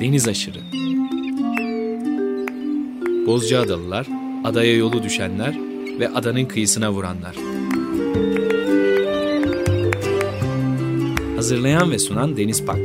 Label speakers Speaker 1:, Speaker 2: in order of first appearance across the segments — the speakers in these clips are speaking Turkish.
Speaker 1: deniz aşırı. Bozcaadalılar, adaya yolu düşenler ve adanın kıyısına vuranlar. Hazırlayan ve sunan Deniz Pak.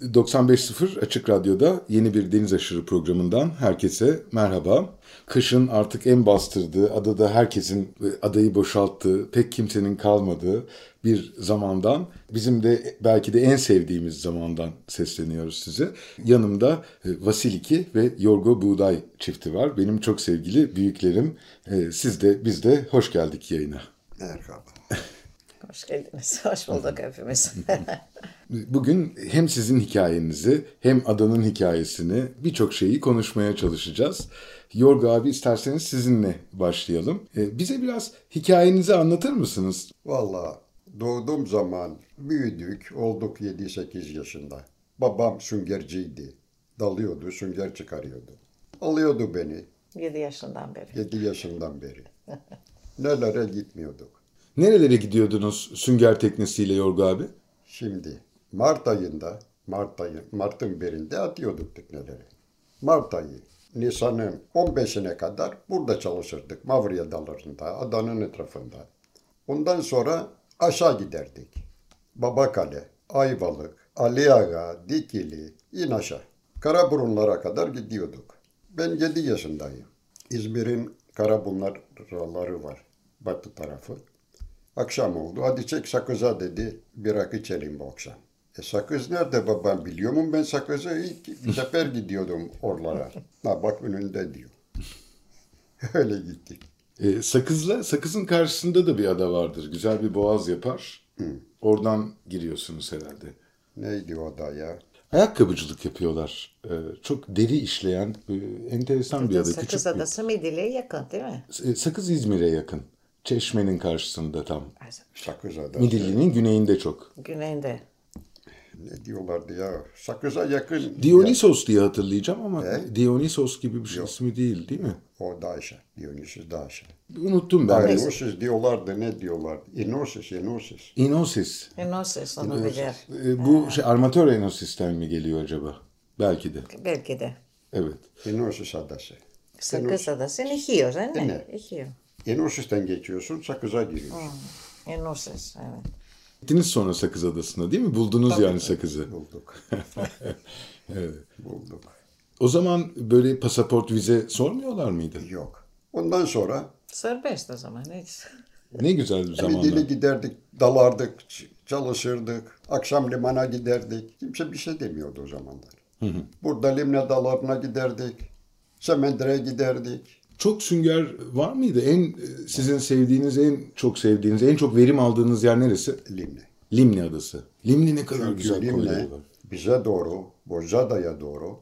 Speaker 2: ...95.0 Açık Radyo'da yeni bir Deniz Aşırı programından herkese merhaba. Kışın artık en bastırdığı, adada herkesin adayı boşalttığı, pek kimsenin kalmadığı bir zamandan... ...bizim de belki de en sevdiğimiz zamandan sesleniyoruz size. Yanımda e, Vasiliki ve Yorgo Buğday çifti var. Benim çok sevgili büyüklerim. e, Siz de biz de hoş geldik yayına.
Speaker 3: Merhaba.
Speaker 4: Hoş geldiniz. Hoş bulduk hepimiz.
Speaker 2: Bugün hem sizin hikayenizi hem adanın hikayesini birçok şeyi konuşmaya çalışacağız. Yorga abi isterseniz sizinle başlayalım. Ee, bize biraz hikayenizi anlatır mısınız?
Speaker 3: Valla doğduğum zaman büyüdük olduk 7-8 yaşında. Babam süngerciydi. Dalıyordu sünger çıkarıyordu. Alıyordu beni
Speaker 4: 7 yaşından beri.
Speaker 3: 7 yaşından beri. Nelere gitmiyorduk.
Speaker 2: Nerelere gidiyordunuz sünger teknesiyle Yorga abi?
Speaker 3: Şimdi Mart ayında, Mart ayı, Mart'ın birinde atıyorduk tekneleri. Mart ayı, Nisan'ın 15'ine kadar burada çalışırdık. Mavriye dalarında, adanın etrafında. Ondan sonra aşağı giderdik. Babakale, Ayvalık, Aliağa, Dikili, in aşağı. Karaburunlara kadar gidiyorduk. Ben 7 yaşındayım. İzmir'in Karaburunları var, batı tarafı. Akşam oldu. Hadi çek sakıza dedi. Bir rakı içelim bu akşam. E sakız nerede babam biliyor mu? Ben sakıza ilk bir sefer gidiyordum orlara. Ha bak önünde diyor. Öyle gittik.
Speaker 2: Ee, sakızla, sakızın karşısında da bir ada vardır. Güzel bir boğaz yapar. Oradan giriyorsunuz herhalde.
Speaker 3: Neydi o da ya?
Speaker 2: Ayakkabıcılık yapıyorlar. Ee, çok deri işleyen, e, enteresan bir ada.
Speaker 4: Sakız
Speaker 2: Küçük bir-
Speaker 4: Adası Midilli'ye yakın değil mi?
Speaker 2: E, Sakız İzmir'e yakın. Çeşme'nin karşısında tam.
Speaker 3: Sakız adası.
Speaker 2: Midilli'nin güneyinde çok.
Speaker 4: Güneyinde.
Speaker 3: Ne diyorlardı ya? Sakıza yakın.
Speaker 2: Dionysos diye hatırlayacağım ama
Speaker 3: E?
Speaker 2: Dionysos gibi bir şey ismi değil değil mi?
Speaker 3: O da aşağı. Dionysus da aşağı.
Speaker 2: Unuttum ben. de.
Speaker 3: Dionysus diyorlardı ne diyorlardı? Enosis, Enosis.
Speaker 2: Enosis.
Speaker 4: E, Enosis onu bilir.
Speaker 2: E, bu şey, armatör Enosis'ten mi geliyor acaba? Belki de.
Speaker 4: Belki de.
Speaker 2: Evet.
Speaker 3: Enosis adası.
Speaker 4: Sakız Adası Nihiyo değil mi?
Speaker 3: Evet.
Speaker 4: Nihiyo.
Speaker 3: Enosis'ten geçiyorsun, sakıza giriyorsun.
Speaker 4: Enosis E, evet.
Speaker 2: Gittiniz sonra Sakız Adası'na değil mi? Buldunuz yani Sakız'ı.
Speaker 3: Bulduk. Bulduk.
Speaker 2: O zaman böyle pasaport, vize sormuyorlar mıydı?
Speaker 3: Yok. Ondan sonra
Speaker 4: Serbest o zaman. Hiç.
Speaker 2: Ne güzel bir
Speaker 3: bir
Speaker 2: zamanda.
Speaker 3: dili giderdik, dalardık, ç- çalışırdık. Akşam limana giderdik. Kimse bir şey demiyordu o zamanlar. Burada limne dalarına giderdik. Semendire'ye giderdik.
Speaker 2: Çok sünger var mıydı? En e, sizin sevdiğiniz, en çok sevdiğiniz, en çok verim aldığınız yer neresi?
Speaker 3: Limne.
Speaker 2: Limni Adası. Limni ne kadar
Speaker 3: Çünkü
Speaker 2: güzel
Speaker 3: limne
Speaker 2: koyları var.
Speaker 3: bize doğru, Bozcaada'ya doğru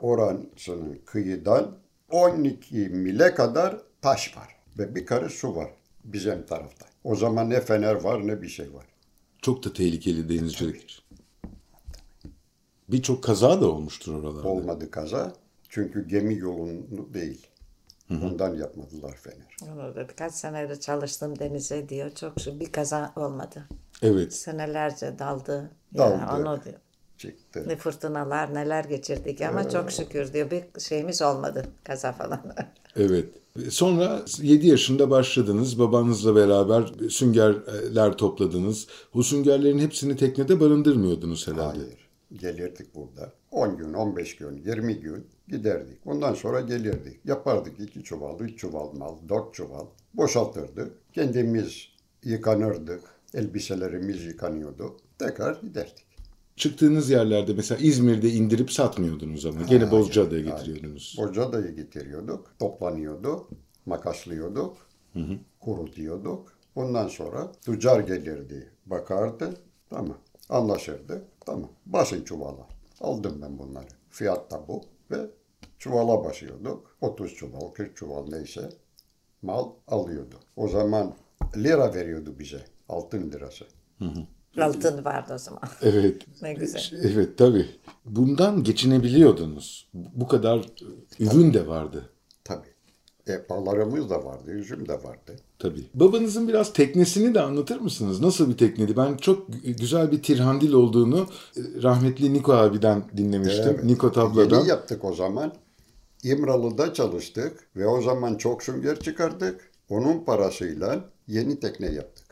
Speaker 3: orasının kıyıdan 12 mile kadar taş var. Ve bir karış su var bizim tarafta. O zaman ne fener var ne bir şey var.
Speaker 2: Çok da tehlikeli denizcilik. için. Birçok kaza da olmuştur oralarda.
Speaker 3: Olmadı kaza. Çünkü gemi yolunu değil. Ondan yapmadılar fener.
Speaker 4: Onu da birkaç senede çalıştım denize diyor. Çok şu bir kaza olmadı.
Speaker 2: Evet.
Speaker 4: Senelerce daldı.
Speaker 3: Daldı.
Speaker 4: onu diyor.
Speaker 3: Çıktı.
Speaker 4: Ne fırtınalar neler geçirdik ama çok şükür diyor bir şeyimiz olmadı kaza falan.
Speaker 2: Evet. Sonra 7 yaşında başladınız. Babanızla beraber süngerler topladınız. Bu süngerlerin hepsini teknede barındırmıyordunuz herhalde.
Speaker 3: Hayır. Gelirdik burada. 10 gün, 15 gün, 20 gün giderdik. Ondan sonra gelirdik. Yapardık iki çuval, üç çuval mal, dört çuval. Boşaltırdık. Kendimiz yıkanırdık. Elbiselerimiz yıkanıyordu. Tekrar giderdik.
Speaker 2: Çıktığınız yerlerde mesela İzmir'de indirip satmıyordunuz ama. Gene Bozcaada'ya getiriyordunuz.
Speaker 3: Bozcaada'ya getiriyorduk. Toplanıyordu. Makaslıyorduk. Kurutuyorduk. Ondan sonra tüccar gelirdi. Bakardı. Tamam. Anlaşırdı. Tamam. Basın çuvala. Aldım ben bunları. Fiyat da bu. Ve çuvala basıyorduk. 30 çuval, 40 çuval neyse mal alıyordu. O zaman lira veriyordu bize. Altın lirası.
Speaker 4: Altın vardı o zaman.
Speaker 2: Evet.
Speaker 4: Ne güzel.
Speaker 2: Evet tabii. Bundan geçinebiliyordunuz. Bu kadar e, ürün de vardı.
Speaker 3: Tabii. E, balarımız da vardı, üzüm de vardı.
Speaker 2: Tabii. Babanızın biraz teknesini de anlatır mısınız? Nasıl bir tekneydi? Ben çok gü- güzel bir tirhandil olduğunu e, rahmetli Niko abiden dinlemiştim.
Speaker 3: Evet.
Speaker 2: Niko tabladan.
Speaker 3: Yeni yaptık o zaman. İmralı'da çalıştık ve o zaman çok sünger çıkardık. Onun parasıyla yeni tekne yaptık.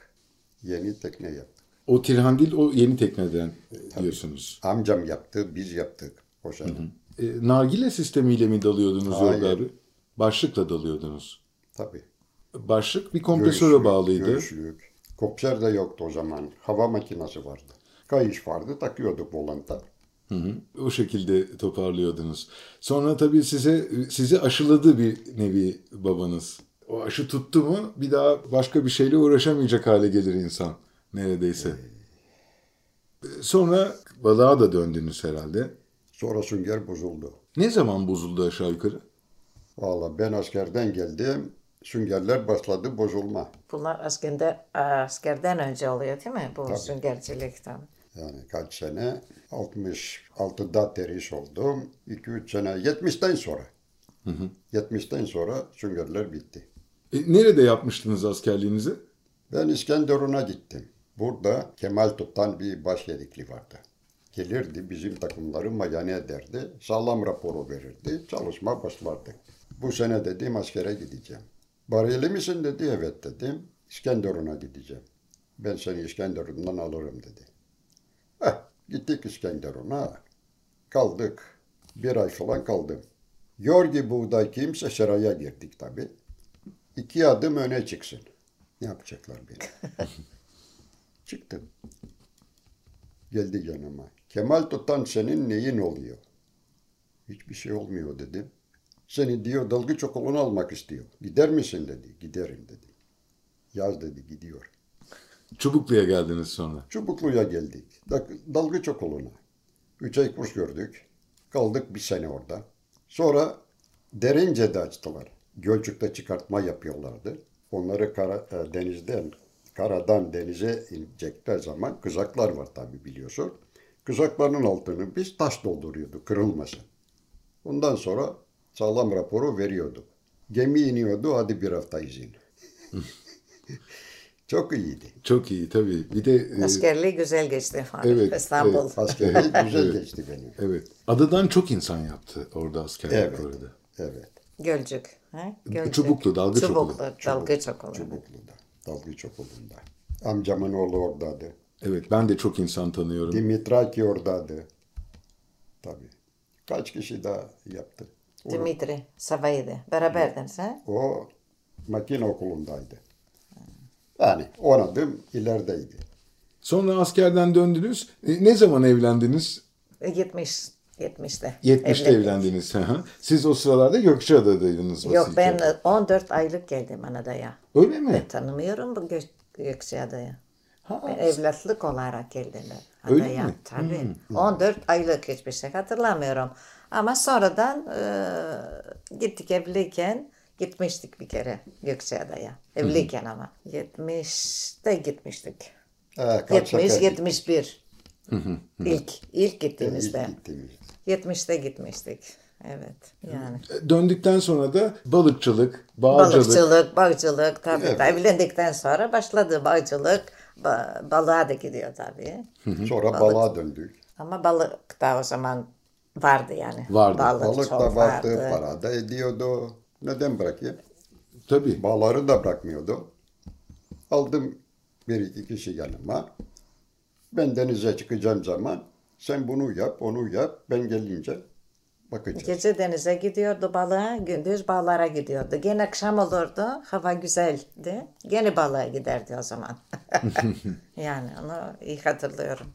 Speaker 3: Yeni tekne yaptık.
Speaker 2: O tirhandil o yeni tekneden e, diyorsunuz.
Speaker 3: Amcam yaptı, biz yaptık o sene.
Speaker 2: E, nargile sistemiyle mi dalıyordunuz
Speaker 3: Hayır.
Speaker 2: Yorga abi? Başlıkla dalıyordunuz.
Speaker 3: Tabii.
Speaker 2: Başlık bir kompresöre
Speaker 3: Görüşlük,
Speaker 2: bağlıydı.
Speaker 3: Görüşlük. Kopser de yoktu o zaman. Hava makinesi vardı. Kayış vardı, takıyorduk volanta.
Speaker 2: O şekilde toparlıyordunuz. Sonra tabii size sizi aşıladı bir nevi babanız. O aşı tuttu mu bir daha başka bir şeyle uğraşamayacak hale gelir insan neredeyse. Sonra balığa da döndünüz herhalde.
Speaker 3: Sonra sünger bozuldu.
Speaker 2: Ne zaman bozuldu aşağı yukarı?
Speaker 3: Valla ben askerden geldim. Süngerler başladı bozulma.
Speaker 4: Bunlar askerde, e, askerden önce oluyor değil mi? Bu süngercilik tabii.
Speaker 3: Yani kaç sene? 66'da teriş oldum. 2-3 sene. 70'ten sonra. 70'ten sonra süngerler bitti.
Speaker 2: E, nerede yapmıştınız askerliğinizi?
Speaker 3: Ben İskenderun'a gittim. Burada Kemal Tutan bir başyedikli vardı. Gelirdi bizim takımları mayane ederdi. Sağlam raporu verirdi. Çalışma başlardı. Bu sene dedim askere gideceğim. Bariyeli misin dedi evet dedim. İskenderun'a gideceğim. Ben seni İskenderun'dan alırım dedi. Eh, gittik İskenderun'a. Kaldık. Bir ay falan kaldım. Yorgi buğday kimse seraya girdik tabii. İki adım öne çıksın. Ne yapacaklar beni? Çıktım. Geldi yanıma. Kemal Tutan senin neyin oluyor? Hiçbir şey olmuyor dedim. Seni diyor dalgıç okulunu almak istiyor. Gider misin dedi. Giderim dedim. Yaz dedi gidiyor.
Speaker 2: Çubuklu'ya geldiniz sonra.
Speaker 3: Çubuklu'ya geldik. Dak- Dalgıç okuluna. Üç ay kurs gördük. Kaldık bir sene orada. Sonra Derince'de açtılar. Gölcük'te çıkartma yapıyorlardı. Onları kara, e, denizden, karadan denize inecekler zaman kızaklar var tabii biliyorsun. Kızakların altını biz taş dolduruyorduk kırılmasın. Ondan sonra sağlam raporu veriyorduk. Gemi iniyordu hadi bir hafta izin. Çok iyiydi.
Speaker 2: Çok iyi tabii. Bir de
Speaker 4: Ee,
Speaker 2: e,
Speaker 4: Askerliği güzel geçti falan.
Speaker 2: evet,
Speaker 4: İstanbul.
Speaker 2: evet.
Speaker 3: Askerlik güzel geçti benim.
Speaker 2: evet. Adadan çok insan yaptı orada askerlik
Speaker 3: Evet.
Speaker 2: bu arada.
Speaker 3: Evet.
Speaker 4: Gölcük. Ha? Gölcük.
Speaker 2: Çubuklu, Dalgıç Okulu.
Speaker 4: Çubuklu, Dalgıç Okulu.
Speaker 3: Çubuklu'da. Dalgıç Okulu'nda. Amcamın oğlu oradaydı.
Speaker 2: Evet ben de çok insan tanıyorum.
Speaker 3: Dimitraki oradaydı. Tabii. Kaç kişi daha yaptı? O,
Speaker 4: Dimitri, Savaydi. Beraberdiniz ha?
Speaker 3: o makine okulundaydı. Yani on adım ilerideydi.
Speaker 2: Sonra askerden döndünüz. E, Ne zaman evlendiniz?
Speaker 4: 70, 70'te.
Speaker 2: 70'te
Speaker 4: E, Evlendim.
Speaker 2: evlendiniz. Hı hı. Siz o sıralarda Gökçeada'daydınız.
Speaker 4: Yok
Speaker 2: Vasilya.
Speaker 4: ben 14 aylık geldim Anadolu'ya.
Speaker 2: Öyle mi?
Speaker 4: Tanımıyorum bu Gök, Gökçeada'yı.
Speaker 2: Ha,
Speaker 4: Ben E, evlatlık olarak geldiler.
Speaker 2: Öyle
Speaker 4: Adaya.
Speaker 2: mi? Hmm,
Speaker 4: Tabii. 14 aylık hiçbir şey hatırlamıyorum. Ama sonradan e, gittik evliyken gitmiştik bir kere Gökçeada'ya. Evliyken ama. 70'te gitmiştik.
Speaker 3: Ee, kaç
Speaker 4: 70,
Speaker 3: sefer
Speaker 4: 71. ilk ilk
Speaker 3: gittik,
Speaker 4: gittiğimizde.
Speaker 3: gittiğimiz.
Speaker 4: 70'te gitmiştik. Evet. Yani
Speaker 2: Döndükten sonra da balıkçılık, bağcılık.
Speaker 4: balıkçılık, bağcılık tabii.
Speaker 3: Evet.
Speaker 4: Evlendikten sonra başladı bağcılık. Ba- balığa da gidiyor tabii.
Speaker 3: Sonra balığa döndük.
Speaker 4: Ama balık da o zaman vardı yani.
Speaker 2: Vardı.
Speaker 4: Balık,
Speaker 3: Balık
Speaker 4: çok
Speaker 3: da baktı, para da ediyordu. Neden bırakayım?
Speaker 2: Tabii.
Speaker 3: Bağları da bırakmıyordu. Aldım bir iki kişi yanıma. Ben denize çıkacağım zaman sen bunu yap, onu yap. Ben gelince bakacağım.
Speaker 4: Gece denize gidiyordu balığa, gündüz bağlara gidiyordu. Gene akşam olurdu, hava güzeldi. Gene balığa giderdi o zaman. yani onu iyi hatırlıyorum.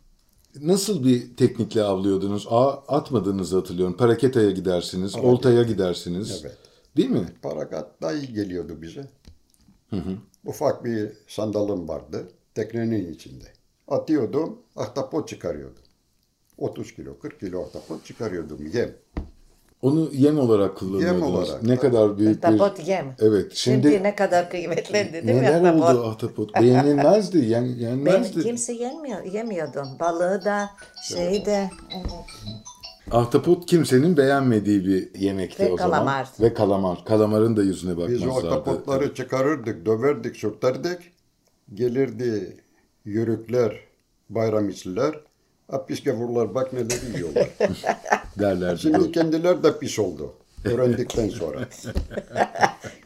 Speaker 2: Nasıl bir teknikle avlıyordunuz? Ağ atmadığınızı hatırlıyorum. Paraketaya gidersiniz, oltaya gidersiniz.
Speaker 3: Evet.
Speaker 2: Değil mi?
Speaker 3: Paragat daha iyi geliyordu bize. Ufak bir sandalım vardı teknenin içinde. Atıyordum, ahtapot çıkarıyordum. 30 kilo, 40 kilo ahtapot çıkarıyordum yem.
Speaker 2: Onu yem olarak kullanıyordunuz.
Speaker 3: olarak.
Speaker 2: Ne kadar büyük bir...
Speaker 4: Tapot yem.
Speaker 2: Evet.
Speaker 4: Şimdi,
Speaker 2: Şimdi,
Speaker 4: ne kadar kıymetlendi değil mi?
Speaker 2: neler
Speaker 4: Tapot?
Speaker 2: oldu ahtapot? Beğenilmezdi, yen,
Speaker 4: Ben
Speaker 2: yenmezdi.
Speaker 4: kimse yemiyor, yemiyordum. Balığı da, şeyi de. evet.
Speaker 2: Ahtapot kimsenin beğenmediği bir yemekti
Speaker 4: Ve
Speaker 2: o zaman.
Speaker 4: kalamar.
Speaker 2: Ve kalamar. Kalamarın da yüzüne
Speaker 3: Biz
Speaker 2: bakmazlardı.
Speaker 3: o ahtapotları çıkarırdık, döverdik, sürterdik. Gelirdi yörükler, bayram içliler. "Ha, pis gavurlar bak neler yiyorlar.
Speaker 2: derlerdi.
Speaker 3: Şimdi kendiler de pis oldu. Öğrendikten sonra.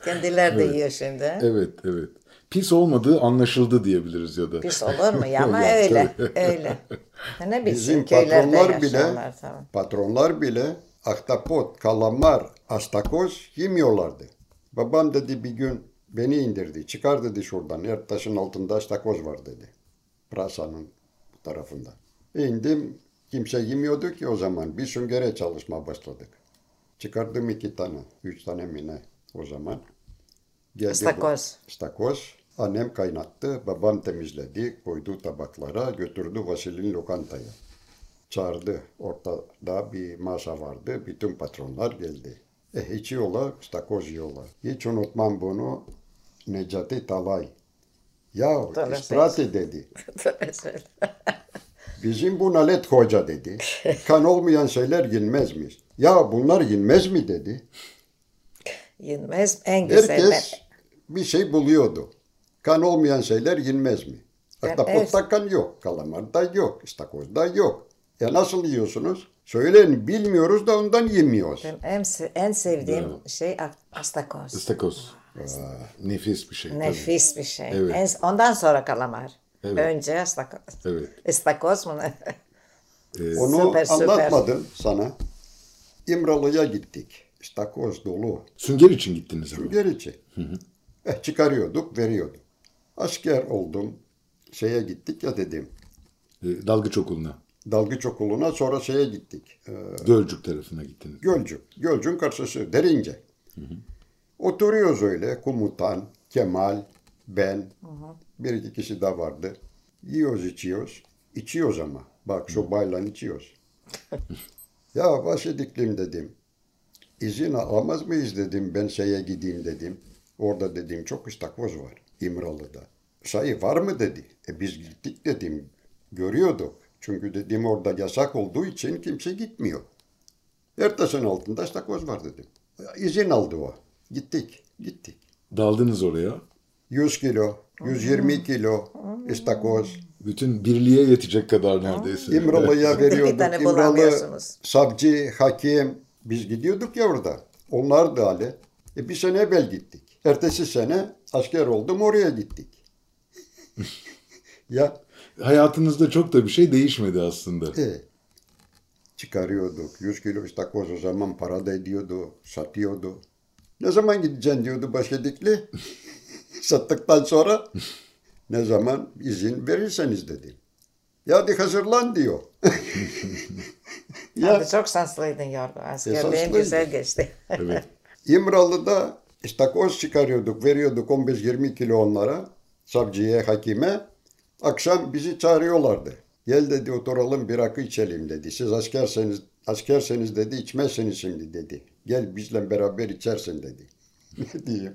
Speaker 4: Kendiler de yiyor şimdi.
Speaker 2: Evet, evet. Pis olmadığı anlaşıldı diyebiliriz ya da.
Speaker 4: Pis olur mu ya ama öyle öyle.
Speaker 3: Bizim
Speaker 4: Ne bilsin köylerde
Speaker 3: patronlar bile
Speaker 4: yaşıyorlar tamam.
Speaker 3: patronlar bile ahtapot, kalamar, astakoz yemiyorlardı. Babam dedi bir gün beni indirdi. Çıkar dedi şuradan. Her taşın altında astakoz var dedi. Prasanın bu tarafında. İndim. Kimse yemiyordu ki o zaman. Bir süngere çalışma başladık. Çıkardım iki tane. Üç tane mi ne o zaman. Geldi
Speaker 4: Istakoz.
Speaker 3: İstakoz. Annem kaynattı, babam temizledi, koydu tabaklara, götürdü Vasil'in lokantaya. Çağırdı. Ortada bir masa vardı. Bütün patronlar geldi. E, içiyorlar, istakoz yiyorlar. Hiç unutmam bunu. Necati Talay. Ya
Speaker 4: Talay
Speaker 3: istrati dedi.
Speaker 4: Dolayısıyla.
Speaker 3: Bizim bu Nalet Hoca dedi. Kan olmayan şeyler yenmezmiş. Ya bunlar yenmez mi dedi.
Speaker 4: Yenmez en güzel.
Speaker 3: Herkes bir şey buluyordu. Kan olmayan şeyler yenmez mi?
Speaker 4: Ben-
Speaker 3: Aktapotta kan yok, kalamarda yok, istakozda yok. E nasıl yiyorsunuz? Söyleyin bilmiyoruz da ondan yemiyoruz.
Speaker 4: Benim en, se- en sevdiğim şey ak- astakoz.
Speaker 2: Istakoz. Nefis bir şey. tabii.
Speaker 4: Nefis bir şey.
Speaker 2: Evet.
Speaker 4: En- ondan sonra kalamar.
Speaker 2: Evet.
Speaker 4: Önce astakoz.
Speaker 2: Evet.
Speaker 4: İstakoz mu? ne?
Speaker 3: Onu
Speaker 4: Süper, süper.
Speaker 3: anlatmadım sana. İmralı'ya gittik. İstakoz dolu.
Speaker 2: Sünger için gittiniz ama.
Speaker 3: Gerici. Eh, çıkarıyorduk, veriyorduk. Asker oldum. Şeye gittik ya dedim.
Speaker 2: Ee, Dalgıç okuluna.
Speaker 3: Dalgıç okuluna sonra şeye gittik. Ee,
Speaker 2: Gölcük tarafına gittiniz.
Speaker 3: Gölcük. Gölcük'ün karşısı derince. Oturuyoruz öyle. Komutan, Kemal, ben. Bir iki kişi daha vardı. Yiyoruz içiyoruz. İçiyoruz ama. Bak sobayla içiyoruz. ya başediklim dedim. İzin alamaz mıyız dedim. Ben şeye gideyim dedim. Orada dedim çok istakoz var İmralı'da. Sayı var mı dedi. E biz gittik dedim. Görüyorduk. Çünkü dedim orada yasak olduğu için kimse gitmiyor. Ertaş'ın altında istakoz var dedim. İzin aldı o. Gittik, gittik.
Speaker 2: Daldınız oraya.
Speaker 3: 100 kilo, 120 kilo istakoz.
Speaker 2: Bütün birliğe yetecek kadar neredeyse.
Speaker 3: İmralı'ya
Speaker 4: Bir
Speaker 3: veriyorduk.
Speaker 4: tane
Speaker 3: İmralı,
Speaker 4: bulamıyorsunuz.
Speaker 3: savcı, hakim. Biz gidiyorduk ya orada. Onlar da hali. E bir sene evvel gittik. Ertesi sene asker oldum oraya gittik. ya
Speaker 2: Hayatınızda çok da bir şey değişmedi aslında.
Speaker 3: E, çıkarıyorduk. 100 kilo istakoz o zaman para da ediyordu, satıyordu. Ne zaman gideceksin diyordu başedikli. Sattıktan sonra ne zaman izin verirseniz dedi. Ya hadi hazırlan diyor. ya
Speaker 4: Abi çok şanslıydın Yorgo. Askerliğin
Speaker 3: şanslıydım.
Speaker 4: güzel geçti.
Speaker 2: Evet.
Speaker 3: İmralı'da istakoz çıkarıyorduk, veriyorduk 15-20 kilo onlara, savcıya, hakime. Akşam bizi çağırıyorlardı. Gel dedi oturalım bir rakı içelim dedi. Siz askerseniz, askerseniz dedi içmezseniz şimdi dedi. Gel bizle beraber içersin dedi. ne diyeyim?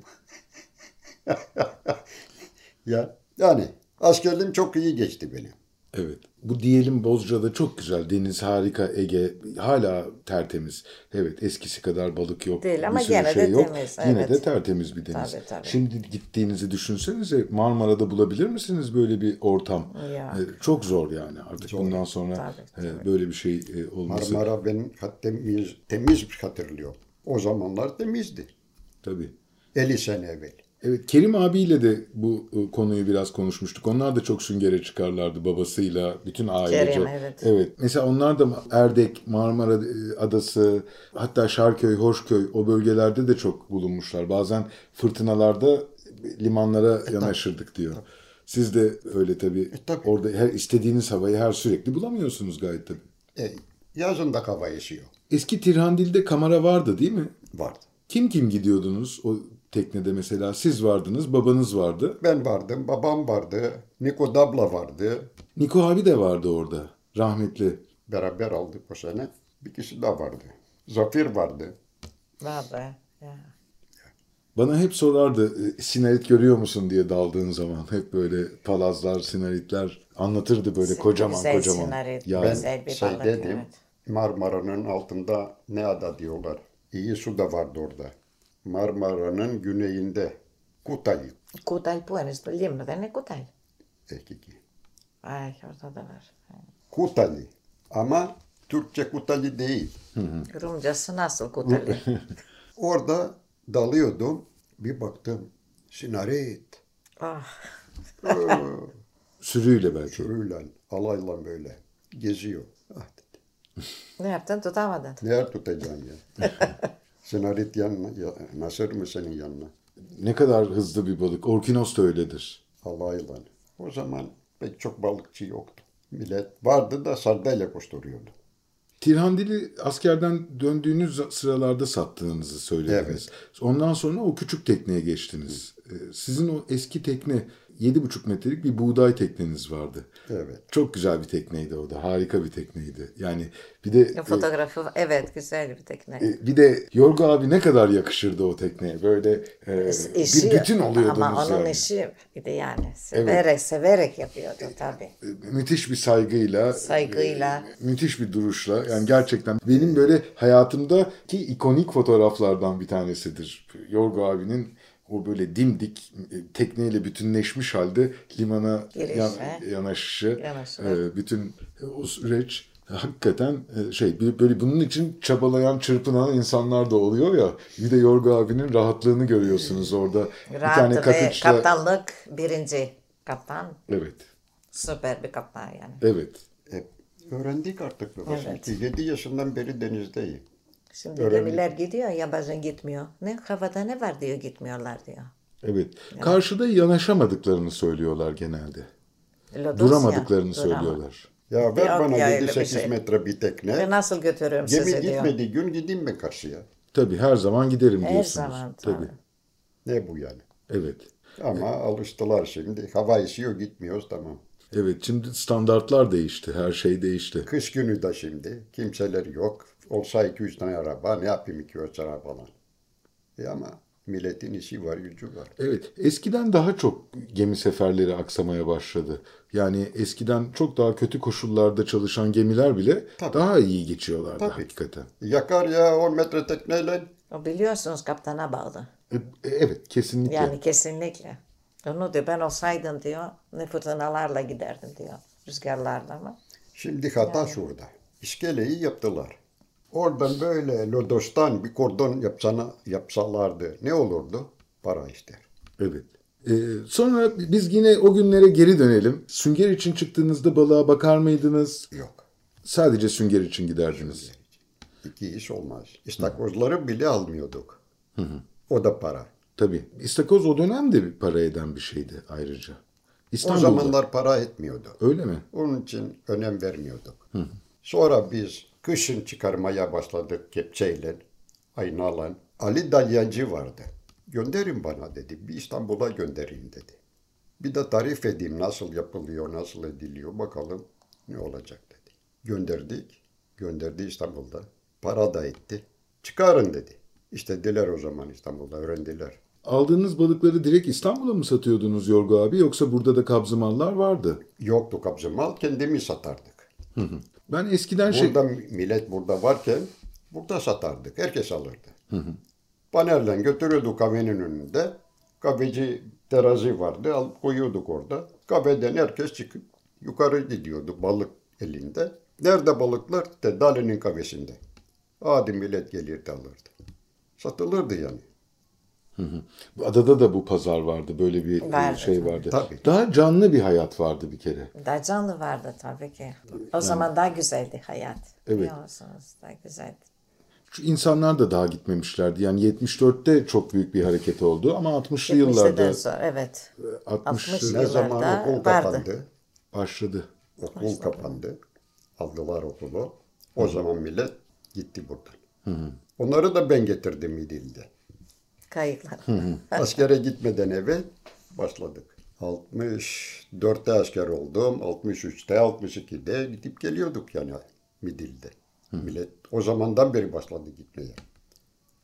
Speaker 3: ya yani askerliğim çok iyi geçti benim.
Speaker 2: Evet. Bu diyelim Bozca'da çok güzel. Deniz harika, Ege hala tertemiz. Evet eskisi kadar balık yok.
Speaker 4: Değil ama
Speaker 2: bir sürü
Speaker 4: gene de
Speaker 2: şey yok.
Speaker 4: temiz,
Speaker 2: Yine
Speaker 4: evet.
Speaker 2: de tertemiz bir deniz.
Speaker 4: Tabii, tabii.
Speaker 2: Şimdi gittiğinizi düşünsenize Marmara'da bulabilir misiniz böyle bir ortam?
Speaker 4: Ya.
Speaker 2: Ee, çok zor yani artık bundan sonra
Speaker 4: Tabii,
Speaker 2: e, böyle bir şey e, olması.
Speaker 3: Marmara benim hat- temiz, temiz hatırlıyorum. O zamanlar temizdi.
Speaker 2: Tabii.
Speaker 3: 50 sene evvel.
Speaker 2: Evet Kerim abiyle de bu e, konuyu biraz konuşmuştuk. Onlar da çok süngere çıkarlardı babasıyla bütün ailece.
Speaker 4: Kerim, evet.
Speaker 2: Mesela onlar da Erdek, Marmara e, Adası, hatta Şarköy, Hoşköy o bölgelerde de çok bulunmuşlar. Bazen fırtınalarda limanlara yanaşırdık diyor. Siz de öyle tabii.
Speaker 3: tabii.
Speaker 2: Orada her istediğiniz havayı her sürekli bulamıyorsunuz gayet tabii.
Speaker 3: E, yazın da hava esiyor.
Speaker 2: Eski Tirhandil'de kamera vardı değil mi?
Speaker 3: Vardı.
Speaker 2: Kim kim gidiyordunuz o teknede mesela? Siz vardınız, babanız vardı.
Speaker 3: Ben vardım, babam vardı, Niko Dabla vardı.
Speaker 2: Niko abi de vardı orada. Rahmetli.
Speaker 3: Beraber aldık o sene. Bir kişi daha vardı. Zafir vardı.
Speaker 4: Vallahi. Ya.
Speaker 2: Bana hep sorardı e, sinarit görüyor musun diye daldığın zaman. Hep böyle palazlar, sinaritler anlatırdı böyle kocaman
Speaker 4: güzel
Speaker 2: kocaman.
Speaker 4: sinarit,
Speaker 2: Ya
Speaker 4: güzel bir
Speaker 3: şey
Speaker 4: balık.
Speaker 3: dedim.
Speaker 4: evet.
Speaker 3: Marmara'nın altında ne ada diyorlar. İyi su da vardı orada. Marmara'nın güneyinde Kutay
Speaker 4: Kutay που είναι στο λίμνο, δεν είναι κουτάλι.
Speaker 3: ekiki.
Speaker 4: Α, έχει orada da var.
Speaker 3: Kutali ama Türkçe Kutali değil.
Speaker 4: Rumcası nasıl Kutali?
Speaker 3: Orada dalıyordum. Bir baktım sinaret.
Speaker 4: ah,
Speaker 2: Sürüyle belki.
Speaker 3: Sürüyle, alayla böyle geziyor. Ah dedi.
Speaker 4: ne yaptın tutamadın.
Speaker 3: Neler tutacaksın ya? sinaret yanına, ya, nasır mı senin yanına?
Speaker 2: Ne kadar hızlı bir balık. Orkinos da öyledir.
Speaker 3: Alayla. O zaman pek çok balıkçı yoktu. Millet vardı da sardalya koşturuyordu.
Speaker 2: Tirhandili askerden döndüğünüz sıralarda sattığınızı söylediniz. Ondan sonra o küçük tekneye geçtiniz. Ee, Sizin o eski tekne 7,5 metrelik bir buğday tekneniz vardı.
Speaker 3: Evet.
Speaker 2: Çok güzel bir tekneydi o da. Harika bir tekneydi. Yani bir de
Speaker 4: Ya, Fotoğrafı, evet güzel bir tekne.
Speaker 2: e, bir de Yorgo abi ne kadar yakışırdı o tekneye. Böyle e,
Speaker 4: İşi-
Speaker 2: bir bütün oluyordunuz
Speaker 4: Ama onun
Speaker 2: yani.
Speaker 4: işi bir de yani. Severek severek yapıyordu tabii.
Speaker 2: müthiş bir saygıyla,
Speaker 4: Saygıyla.
Speaker 2: e, müthiş bir duruşla. Yani gerçekten benim böyle hayatımdaki ikonik fotoğraflardan bir tanesidir. Yorgo abinin o böyle dimdik e, tekneyle bütünleşmiş halde limana
Speaker 4: Giriş,
Speaker 2: yan-
Speaker 4: he?
Speaker 2: yanaşışı,
Speaker 4: Yanaşı,
Speaker 2: e, bütün o süreç hakikaten e, şey bir- böyle bunun için çabalayan, çırpınan insanlar da oluyor ya. Bir de Yorgo abinin rahatlığını görüyorsunuz orada. bir tane
Speaker 4: Rahat ve
Speaker 2: katıçla.
Speaker 4: kaptanlık birinci. Kaptan
Speaker 2: Evet.
Speaker 4: süper bir kaptan yani.
Speaker 2: Evet.
Speaker 3: Hep öğrendik artık.
Speaker 4: Evet.
Speaker 3: Evet. 7 yaşından beri denizdeyim.
Speaker 4: Şimdi gemiler gidiyor ya bazen gitmiyor. Ne havada ne var diyor gitmiyorlar diyor.
Speaker 2: Evet. Karşıda yanaşamadıklarını söylüyorlar genelde.
Speaker 4: Lodosya,
Speaker 2: Duramadıklarını
Speaker 4: durama-
Speaker 2: söylüyorlar.
Speaker 3: Ya ver
Speaker 4: Yok
Speaker 3: bana
Speaker 4: ya, öyle bir
Speaker 3: 7-8
Speaker 4: şey.
Speaker 3: metre bir tekne.
Speaker 4: Ben nasıl götürüyorum
Speaker 3: Gemi
Speaker 4: sizi diyor.
Speaker 3: gitmediği gün gideyim mi karşıya?
Speaker 2: Tabii her zaman giderim
Speaker 4: Her
Speaker 2: diyorsunuz.
Speaker 4: zaman,
Speaker 2: Tabii.
Speaker 4: tabii.
Speaker 3: Ne bu yani?
Speaker 2: Evet.
Speaker 3: Ama alıştılar şimdi. Hava esiyor gitmiyoruz tamam.
Speaker 2: Evet şimdi standartlar değişti. Her şey değişti.
Speaker 3: Kış günü de şimdi kimseler yok. Olsa 2-3 tane araba ne yapayım 2-3 tane falan. E ama milletin işi var, gücü var.
Speaker 2: Evet. Eskiden daha çok gemi seferleri aksamaya başladı. Yani eskiden çok daha kötü koşullarda çalışan gemiler bile daha iyi geçiyorlardı
Speaker 3: Tabii.
Speaker 2: hakikaten.
Speaker 3: Yakar ya 10 metre tekneyle.
Speaker 4: O biliyorsunuz kaptana bağlı.
Speaker 2: E, Evet kesinlikle.
Speaker 4: Yani kesinlikle. Onu diyor ben olsaydım diyor ne fırtınalarla giderdim diyor. Rüzgarlarla mı?
Speaker 3: Şimdi hata şurada. İskeleyi yaptılar. Oradan böyle lodostan bir kordon yapsana, yapsalardı ne olurdu? Para ister.
Speaker 2: Evet. Ee, sonra biz yine o günlere geri dönelim. Sünger için çıktığınızda balığa bakar mıydınız?
Speaker 3: Yok.
Speaker 2: Sadece sünger için giderdiniz.
Speaker 3: İki iş olmaz. İstakozları bile almıyorduk. O da para.
Speaker 2: Tabii. İstakoz o dönemde bir para eden bir şeydi ayrıca.
Speaker 3: O
Speaker 2: İstanbul'da.
Speaker 3: zamanlar para etmiyordu.
Speaker 2: Öyle mi?
Speaker 3: Onun için önem vermiyorduk. Sonra biz kışın çıkarmaya başladık kepçeyle, aynalan. Ali Dalyancı vardı. Gönderin bana dedi. Bir İstanbul'a gönderin dedi. Bir de tarif edeyim nasıl yapılıyor, nasıl ediliyor bakalım ne olacak dedi. Gönderdik. Gönderdi İstanbul'da. Para da etti. Çıkarın dedi. İstediler o zaman İstanbul'da öğrendiler.
Speaker 2: Aldığınız balıkları direkt İstanbul'a mı satıyordunuz Yorgo abi yoksa burada da kabzımallar vardı?
Speaker 3: Yoktu kabzı mal kendimi satardık.
Speaker 2: Ben eskiden şey...
Speaker 3: Burada millet burada varken burada satardık. Herkes alırdı. Panerle götürüyorduk kahvenin önünde. Kahveci terazi vardı. Alıp koyuyorduk orada. Kahveden herkes çıkıp yukarı gidiyordu balık elinde. Nerede balıklar? De Dali'nin kahvesinde. Adi millet gelirdi alırdı. Satılırdı yani.
Speaker 2: Adada da bu pazar vardı. Böyle bir e,
Speaker 4: Vardı.
Speaker 2: şey vardı.
Speaker 3: Tabii.
Speaker 2: Daha canlı bir hayat vardı bir kere.
Speaker 4: Daha canlı vardı tabii ki. O zaman daha güzeldi hayat.
Speaker 2: Evet.
Speaker 4: Biliyorsunuz daha güzeldi.
Speaker 2: Şu insanlar da daha gitmemişlerdi. Yani 74'te çok büyük bir hareket oldu ama 60'lı
Speaker 4: 70'den
Speaker 2: yıllarda
Speaker 4: sonra evet.
Speaker 2: 60
Speaker 3: Ne zaman
Speaker 4: Yıllarda
Speaker 3: okul
Speaker 4: vardı.
Speaker 3: kapandı.
Speaker 2: başladı.
Speaker 3: Okul kapandı. Aldılar okulu. O zaman millet gitti buradan. Onları da ben getirdim İdil'de.
Speaker 4: Kayıklar.
Speaker 3: Askere gitmeden evvel başladık. 64'te asker oldum. 63'te, 62'de gidip geliyorduk yani Midil'de. Millet o zamandan beri başladı gitmeye.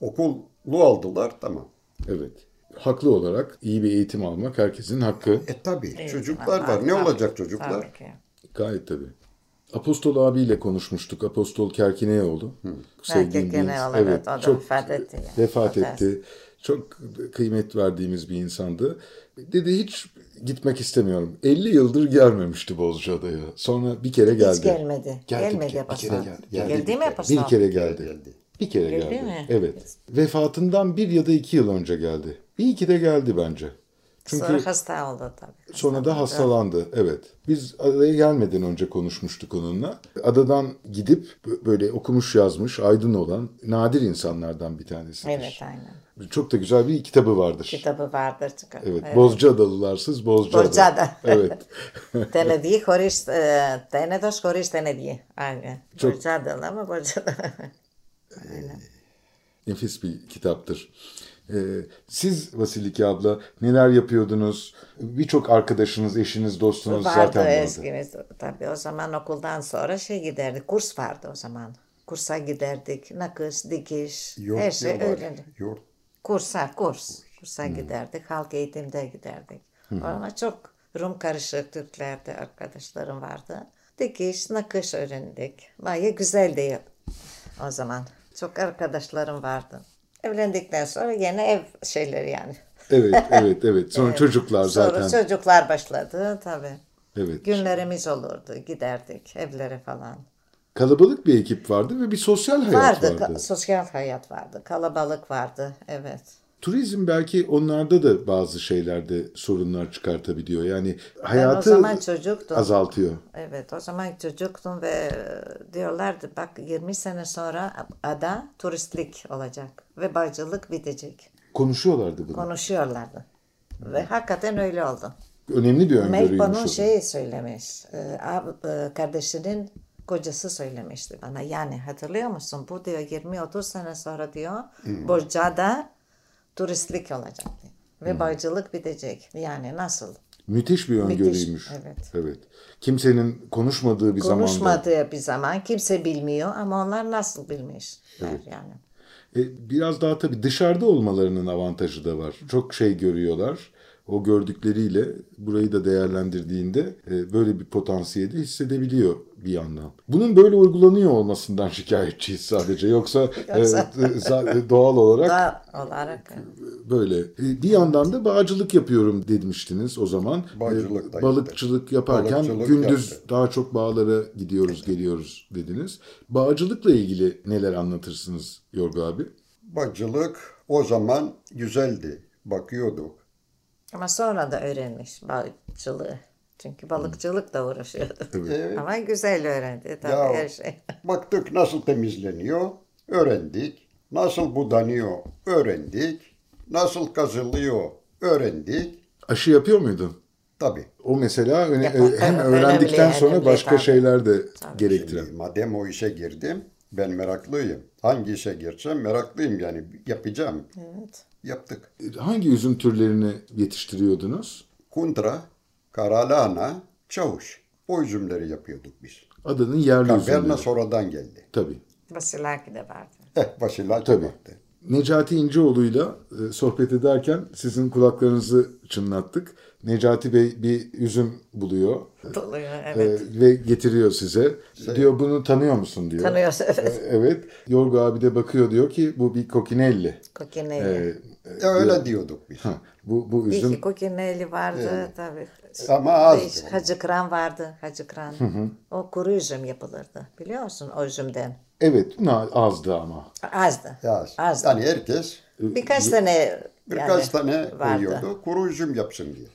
Speaker 3: Okullu aldılar tamam.
Speaker 2: Evet. Haklı olarak iyi bir eğitim almak herkesin hakkı.
Speaker 3: E tabi
Speaker 4: Evet,
Speaker 3: çocuklar var. Ne
Speaker 4: tabii,
Speaker 3: olacak çocuklar?
Speaker 4: Tabii ki.
Speaker 2: Gayet tabii. Apostol abiyle konuşmuştuk. Apostol Kerkineoğlu. Sevdiğim bir ins-
Speaker 4: Kerkineoğlu, evet, o da vefat etti yani.
Speaker 2: Vefat
Speaker 4: O da-
Speaker 2: etti. Çok kıymet verdiğimiz bir insandı. Dedi hiç gitmek istemiyorum. 50 yıldır gelmemişti Bozcaada'ya. Sonra bir kere geldi.
Speaker 4: Hiç gelmedi.
Speaker 2: Geldi bir
Speaker 4: gelmedi
Speaker 2: kere, bir
Speaker 4: Apostol.
Speaker 2: kere geldi. Geldi
Speaker 4: Geldi
Speaker 2: bir
Speaker 4: mi
Speaker 2: kere.
Speaker 4: Apostol?
Speaker 2: Bir kere geldi.
Speaker 3: Geldi.
Speaker 2: Bir kere geldi.
Speaker 4: mi?
Speaker 2: Evet. Vefatından bir ya da iki yıl önce geldi. Bir iki de geldi bence. Çünkü
Speaker 4: Sonra hasta oldu tabii.
Speaker 2: Sonra da hastalandı. Evet. Biz adaya gelmeden önce konuşmuştuk onunla. Adadan gidip bö- böyle okumuş yazmış, aydın olan nadir insanlardan bir tanesidir.
Speaker 4: Evet aynen.
Speaker 2: Çok da güzel bir kitabı vardır.
Speaker 4: Kitabı vardır çıkan.
Speaker 2: Evet. Bozcaadalılarsız Bozcaada.
Speaker 4: Bozcaada.
Speaker 2: evet.
Speaker 4: Tenediği horiz, e, tenedos horiz tenediği. Aynen.
Speaker 2: Çok-
Speaker 4: Borcadalı ama borcadalı.
Speaker 2: Nefis bir kitaptır. Ee, siz Vasiliki abla neler yapıyordunuz? Birçok arkadaşınız, eşiniz, dostunuz
Speaker 4: vardı
Speaker 2: zaten vardı.
Speaker 4: eskimiz. Tabii o zaman okuldan sonra şey giderdik. Kurs vardı o zaman. Kursa giderdik. Nakış, dikiş.
Speaker 3: Yurt
Speaker 4: her şey
Speaker 3: diyorlar.
Speaker 4: öğrendik.
Speaker 3: Yurt.
Speaker 4: Kursa, kurs. Kursa
Speaker 2: Hmm.
Speaker 4: giderdik. Halk eğitimde giderdik. Ama çok Rum karışık Türklerde arkadaşlarım vardı. Dikiş, nakış öğrendik. Baya güzeldi o zaman. Çok arkadaşlarım vardı. Evlendikten sonra yine ev şeyleri yani.
Speaker 2: Evet, evet, evet. Sonra çocuklar zaten.
Speaker 4: Sonra çocuklar başladı tabii.
Speaker 2: Evet.
Speaker 4: Günlerimiz olurdu. Giderdik evlere falan.
Speaker 2: Kalabalık bir ekip vardı ve bir sosyal hayat
Speaker 4: vardı.
Speaker 2: vardı.
Speaker 4: ka- sosyal hayat vardı. Kalabalık vardı. Evet.
Speaker 2: Turizm belki onlarda da bazı şeylerde sorunlar çıkartabiliyor. Yani
Speaker 4: Ben o
Speaker 2: hayatı
Speaker 4: zaman çocuktum.
Speaker 2: azaltıyor.
Speaker 4: Evet o zaman çocuktum ve e, diyorlardı bak 20 sene sonra ada turistlik olacak ve bacılık bitecek.
Speaker 2: Konuşuyorlardı bunu.
Speaker 4: Konuşuyorlardı. Ve hakikaten öyle oldu.
Speaker 2: Önemli bir öngörüymüş.
Speaker 4: Melbo'nun
Speaker 2: o.
Speaker 4: şeyi söylemiş. e, ab- e, Kardeşinin kocası söylemişti bana. Yani hatırlıyor musun? Bu diyor 20-30 sene sonra diyor Borca'da turistlik olacak diyor. Ve bacılık bitecek. Yani nasıl?
Speaker 2: Müthiş bir
Speaker 4: Müthiş,
Speaker 2: öngörüymüş.
Speaker 4: evet.
Speaker 2: Kimsenin konuşmadığı bir zamanda.
Speaker 4: Konuşmadığı bir zaman kimse bilmiyor ama onlar nasıl bilmiş? Yani.
Speaker 2: E, biraz daha tabii dışarıda olmalarının avantajı da var. Çok şey görüyorlar. O gördükleriyle burayı da değerlendirdiğinde e, böyle bir potansiyeli hissedebiliyor bir yandan. Bunun böyle uygulanıyor olmasından şikayetçiyiz sadece. Yoksa, e,
Speaker 4: Yoksa-
Speaker 2: e, za- doğal olarak
Speaker 4: Doğal olarak.
Speaker 2: böyle. E, Bir yandan da bağcılık yapıyorum demiştiniz o zaman.
Speaker 3: Bağcılık da
Speaker 2: E, Balıkçılık yaparken
Speaker 3: Balıkçılık
Speaker 2: gündüz
Speaker 3: yaptı.
Speaker 2: daha çok bağlara gidiyoruz, geliyoruz dediniz. Bağcılıkla ilgili neler anlatırsınız Yorgu abi?
Speaker 3: Bacılık o zaman güzeldi. Bakıyorduk.
Speaker 4: Ama sonra da öğrenmiş balıkçılığı. Çünkü balıkçılık da uğraşıyordu. Ama güzel öğrendi tabii
Speaker 3: Ya-
Speaker 4: her şey.
Speaker 3: E, Baktık nasıl temizleniyor, öğrendik. Nasıl budanıyor, öğrendik. Nasıl kazılıyor, öğrendik.
Speaker 2: Aşı yapıyor muydun?
Speaker 3: Tabii.
Speaker 2: O mesela öne- e,
Speaker 4: Yapar-
Speaker 2: hem
Speaker 4: önemli,
Speaker 2: öğrendikten sonra
Speaker 4: önemli,
Speaker 2: başka
Speaker 4: tabii.
Speaker 2: şeyler de gerektiren.
Speaker 3: Şimdi Hani madem o işe girdim, ben meraklıyım. Hangi işe girsem meraklıyım yani yapacağım.
Speaker 4: Evet.
Speaker 3: Yaptık.
Speaker 2: E, Hangi üzüm türlerini yetiştiriyordunuz?
Speaker 3: Kuntra, karalana, çavuş. O üzümleri yapıyorduk biz.
Speaker 2: Adanın yerli
Speaker 3: Kaverna
Speaker 2: üzümleri.
Speaker 3: sonradan geldi.
Speaker 2: Tabii.
Speaker 4: Basilaki de vardı.
Speaker 3: Eh, Vasilaki
Speaker 2: Tabii.
Speaker 3: baktı.
Speaker 2: Necati İnceoğlu'yla e, sohbet ederken sizin kulaklarınızı çınlattık. Necati Bey bir üzüm buluyor
Speaker 4: Doluyor,
Speaker 2: e,
Speaker 4: evet.
Speaker 2: ve getiriyor size. Diyor bunu tanıyor musun diyor.
Speaker 4: Tanıyorsun
Speaker 2: E,
Speaker 4: evet.
Speaker 2: Evet. Yorgu abi de bakıyor diyor ki bu bir kokinelli.
Speaker 4: Kokineli.
Speaker 2: E, e,
Speaker 3: Ya öyle diyorduk biz.
Speaker 2: ha, bu, bu
Speaker 4: İyi
Speaker 2: üzüm
Speaker 4: ki kokineli vardı tabii.
Speaker 3: Ama azdı
Speaker 4: Değiş-
Speaker 3: onlar.
Speaker 4: Hacı kran vardı. Hacı kran. O kuru üzüm yapılırdı. Biliyor musun o üzümden?
Speaker 2: evet buna azdı ama.
Speaker 4: Azdı.
Speaker 3: Ya,
Speaker 4: Azdı.
Speaker 3: yani herkes
Speaker 4: Birkaç tane
Speaker 3: birkaç
Speaker 4: yani
Speaker 3: tane koyuyordu. Kuru üzüm yapsın diye.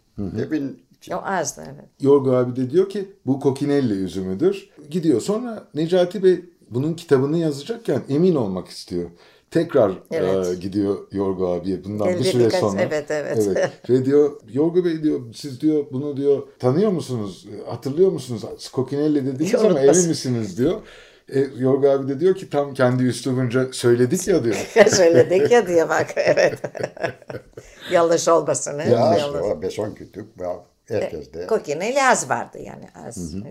Speaker 3: Evin içi-
Speaker 4: O azdı evet.
Speaker 2: Yorgu abi de diyor ki bu kokinelli üzümüdür. Gidiyor sonra Necati Bey bunun kitabını yazacakken emin olmak istiyor. Tekrar
Speaker 4: Evet.
Speaker 2: e, gidiyor Yorgu abiye bundan
Speaker 4: Elde
Speaker 2: bir süre
Speaker 4: birkaç-
Speaker 2: sonra.
Speaker 4: evet, evet.
Speaker 2: Ve diyor Yorgu Bey diyor siz diyor bunu diyor tanıyor musunuz? Hatırlıyor musunuz? Kokinelli dediniz ama
Speaker 4: Yorulmasın.
Speaker 2: emin misiniz diyor. E, Yorgu abi de diyor ki tam kendi üslubunca söyledik ya diyor.
Speaker 4: Söyledik ya diye bak evet. Yanlış olmasın. he?
Speaker 3: Ya
Speaker 4: Yanlış.
Speaker 3: işte o beson kütük ve herkes
Speaker 4: E,
Speaker 3: de
Speaker 4: Kokine az vardı yani az üzüm.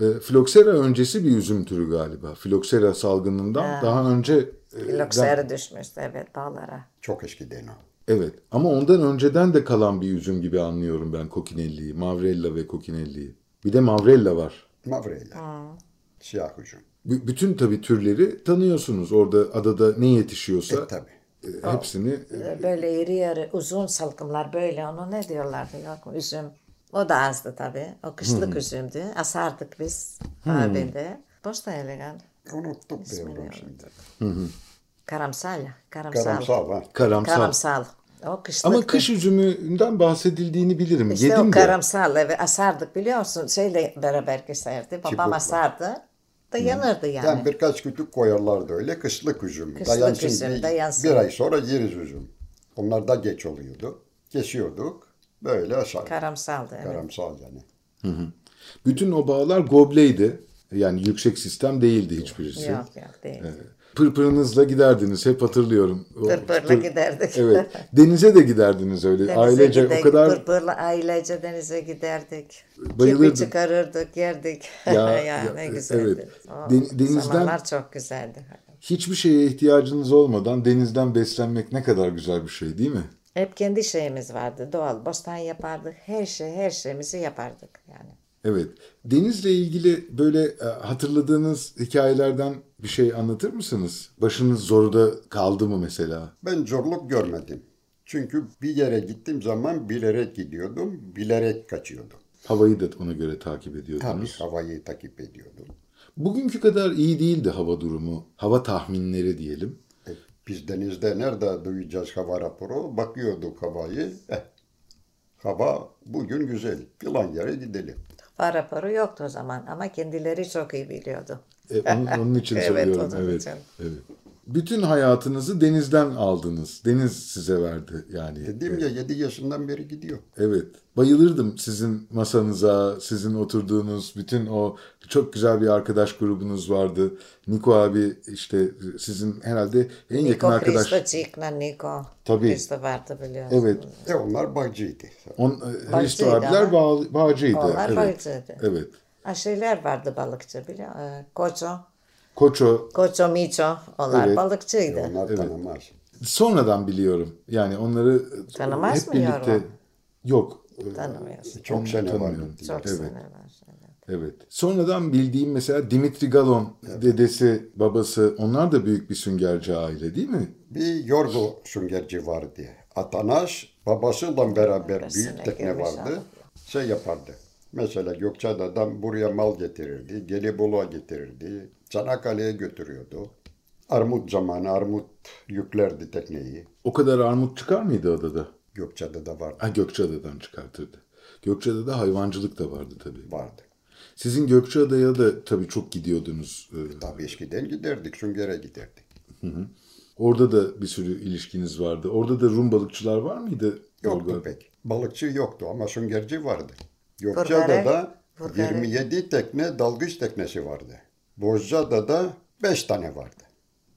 Speaker 2: E, Floksera öncesi bir üzüm türü galiba. Floksera salgınından daha önce e,
Speaker 4: Loksera düşmüştü evet dağlara.
Speaker 3: çok eskiden o.
Speaker 2: Evet ama ondan önceden de kalan bir üzüm gibi anlıyorum ben Kokinelli'yi. Mavrella ve Kokinelli'yi. Bir de Mavrella var.
Speaker 3: Mavreyler. Siyah hücum.
Speaker 2: B- bütün tabii türleri tanıyorsunuz. Orada adada ne yetişiyorsa
Speaker 3: E, tabii.
Speaker 2: e, hepsini e,
Speaker 4: Böyle iri yarı uzun salkımlar böyle onu ne diyorlardı yok mu üzüm. O da azdı tabii. O kışlık üzümdü. Asardık biz abinde. Boş da elegan.
Speaker 3: Unuttum diyorum şimdi.
Speaker 4: Karamsal. Karamsal.
Speaker 3: Karamsal ha.
Speaker 2: karamsar.
Speaker 4: Karamsal. O kışlık.
Speaker 2: Ama kış üzümünden bahsedildiğini bilirim.
Speaker 4: İşte
Speaker 2: Yedim
Speaker 4: o
Speaker 2: de.
Speaker 4: karamsal eve asardık biliyorsun. Şeyle beraber keserdi. Babam
Speaker 3: Çubukla.
Speaker 4: asardı. Dayanırdı yani.
Speaker 3: Yani birkaç kütük koyarlardı öyle kışlık üzüm.
Speaker 4: Kışlık üzüm,
Speaker 3: bir,
Speaker 4: dayansın.
Speaker 3: bir ay sonra yeriz üzüm. Onlar da geç oluyordu. Kesiyorduk. Böyle aşağı.
Speaker 4: Karamsaldı. Evet.
Speaker 3: Karamsal yani.
Speaker 2: Bütün o bağlar gobleydi. Yani yüksek sistem değildi hiçbirisi.
Speaker 4: Yok yok değil.
Speaker 2: Pırpırınızla giderdiniz. Hep hatırlıyorum. O
Speaker 4: Pırpırla
Speaker 2: pır-
Speaker 4: giderdik.
Speaker 2: Evet. Denize de giderdiniz öyle.
Speaker 4: Denize
Speaker 2: Ailece
Speaker 4: giderdik,
Speaker 2: o kadar
Speaker 4: pırpırla ailece denize giderdik.
Speaker 2: Bayılırdım.
Speaker 4: Kirpi çıkarırdık, yerdik.
Speaker 2: Ya,
Speaker 4: Ya,
Speaker 2: ya,
Speaker 4: ne
Speaker 2: e,
Speaker 4: güzeldi.
Speaker 2: evet.
Speaker 4: O
Speaker 2: Den- denizden-
Speaker 4: zamanlar çok güzeldi.
Speaker 2: hiçbir şeye ihtiyacınız olmadan denizden beslenmek ne kadar güzel bir şey değil mi?
Speaker 4: Hep kendi şeyimiz vardı. Doğal bostan yapardık. Her şey, her şeyimizi yapardık yani.
Speaker 2: Evet. Denizle ilgili böyle e, hatırladığınız hikayelerden bir şey anlatır mısınız? Başınız zorda kaldı mı mesela?
Speaker 3: Ben zorluk görmedim. Çünkü bir yere gittiğim zaman bilerek gidiyordum, bilerek kaçıyordum.
Speaker 2: Havayı da ona göre takip
Speaker 3: Tabii
Speaker 2: ediyordunuz.
Speaker 3: havayı takip ediyordum.
Speaker 2: Bugünkü kadar iyi değildi hava durumu, hava tahminleri diyelim.
Speaker 3: E, biz denizde nerede duyacağız hava raporu? Bakıyorduk havayı. Eh, hava bugün güzel. Filan yere gidelim.
Speaker 4: Para raporu yoktu o zaman ama kendileri çok iyi biliyordu.
Speaker 2: E, onun, onun için
Speaker 4: Evet,
Speaker 2: söylüyorum.
Speaker 4: onun
Speaker 2: evet,
Speaker 4: için.
Speaker 2: evet. Bütün hayatınızı denizden aldınız. Deniz size verdi yani.
Speaker 3: Dedim ya 7 yaşından beri gidiyor.
Speaker 2: Evet. Bayılırdım sizin masanıza, sizin oturduğunuz bütün o çok güzel bir arkadaş grubunuz vardı. Niko abi işte sizin herhalde en yakın
Speaker 4: Niko
Speaker 2: arkadaş.
Speaker 4: Kristo, Cikna Niko.
Speaker 2: Tabii.
Speaker 4: Kristo vardı biliyorsun.
Speaker 2: Evet.
Speaker 3: E onlar bacıydı.
Speaker 2: On, Hristo
Speaker 4: Bağcıydı
Speaker 2: abiler
Speaker 4: ama.
Speaker 2: bağ, bağcıydı.
Speaker 4: Onlar
Speaker 2: evet.
Speaker 4: balıkçıydı.
Speaker 2: Evet.
Speaker 4: Aşiler vardı balıkçı biliyor musun? Ee, Koço,
Speaker 2: Koço
Speaker 4: Koço Miço onlar
Speaker 2: Evet.
Speaker 4: balıkçıydı.
Speaker 3: Onlar tanımaz.
Speaker 2: sonradan biliyorum. Yani onları e,
Speaker 4: Tanımaz
Speaker 2: hep
Speaker 4: mı
Speaker 2: birlikte
Speaker 4: Yorgo?
Speaker 2: yok.
Speaker 4: Tanımıyorsun.
Speaker 3: Çok
Speaker 2: Onu
Speaker 3: sene var.
Speaker 2: tanımıyorum.
Speaker 4: Çok
Speaker 2: Evet.
Speaker 4: sene var. evet.
Speaker 2: Evet. Sonradan bildiğim mesela Dimitri Galon dedesi, babası onlar da büyük bir süngerci aile değil mi?
Speaker 3: Bir Yorgo süngerci vardı. Atanas babasıyla beraber
Speaker 4: Babasına
Speaker 3: büyük tekne
Speaker 4: girmiş
Speaker 3: vardı.
Speaker 4: adam.
Speaker 3: Şey yapardı. Mesela Gökçeada'dan buraya mal getirirdi. Gelibolu'a getirirdi. Çanakkale'ye götürüyordu. Armut zamanı armut yüklerdi tekneyi.
Speaker 2: O kadar armut çıkar mıydı adada?
Speaker 3: Gökçeada'da vardı.
Speaker 2: Ha, Gökçeada'dan çıkartırdı. Gökçeada'da hayvancılık da vardı tabii.
Speaker 3: Vardı.
Speaker 2: Sizin Gökçeada'ya da tabii çok gidiyordunuz. Ee,
Speaker 3: Tabii eskiden giderdik, süngere giderdik.
Speaker 2: Orada da bir sürü ilişkiniz vardı. Orada da Rum balıkçılar var mıydı?
Speaker 3: Yoktu
Speaker 2: Orada?
Speaker 3: pek. Balıkçı yoktu ama süngerci vardı.
Speaker 4: Vurgarel,
Speaker 3: Gökçeada'da
Speaker 4: Vurgarel.
Speaker 3: 27 tekne dalgıç teknesi vardı. Bozcaada'da 5 tane vardı.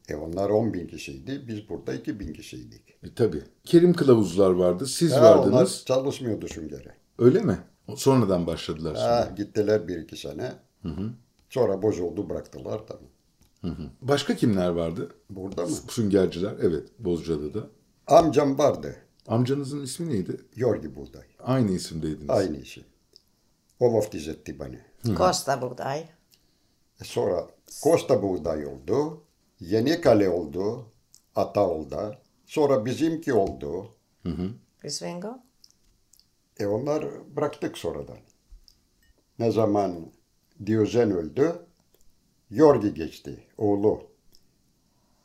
Speaker 3: E onlar 10 bin kişiydi. Biz burada 2 bin kişiydik.
Speaker 2: E, tabii. Kerim kılavuzlar vardı. Siz
Speaker 3: Ha, onlar
Speaker 2: vardınız.
Speaker 3: çalışmıyordu süngere.
Speaker 2: Öyle mi? O- Sonradan başladılar sonra.
Speaker 3: Ha, gittiler bir iki sene. Sonra bozuldu bıraktılar tabii.
Speaker 2: Başka kimler vardı?
Speaker 3: Burada mı?
Speaker 2: Süngerciler. Evet. Bozcaada'da.
Speaker 3: Amcam vardı.
Speaker 2: Amcanızın ismi neydi?
Speaker 3: Yorgi buğday.
Speaker 2: Aynı isimdeydiniz.
Speaker 3: Aynı işi. O vaftiz etti beni.
Speaker 4: Kosta buğday.
Speaker 3: Sonra Costa Buğday oldu. Yenikale oldu. Ataol'da. Sonra bizimki oldu.
Speaker 4: Bisvingo.
Speaker 3: E onlar bıraktık sonradan. Ne zaman Diyojen öldü, Yorgi geçti, oğlu.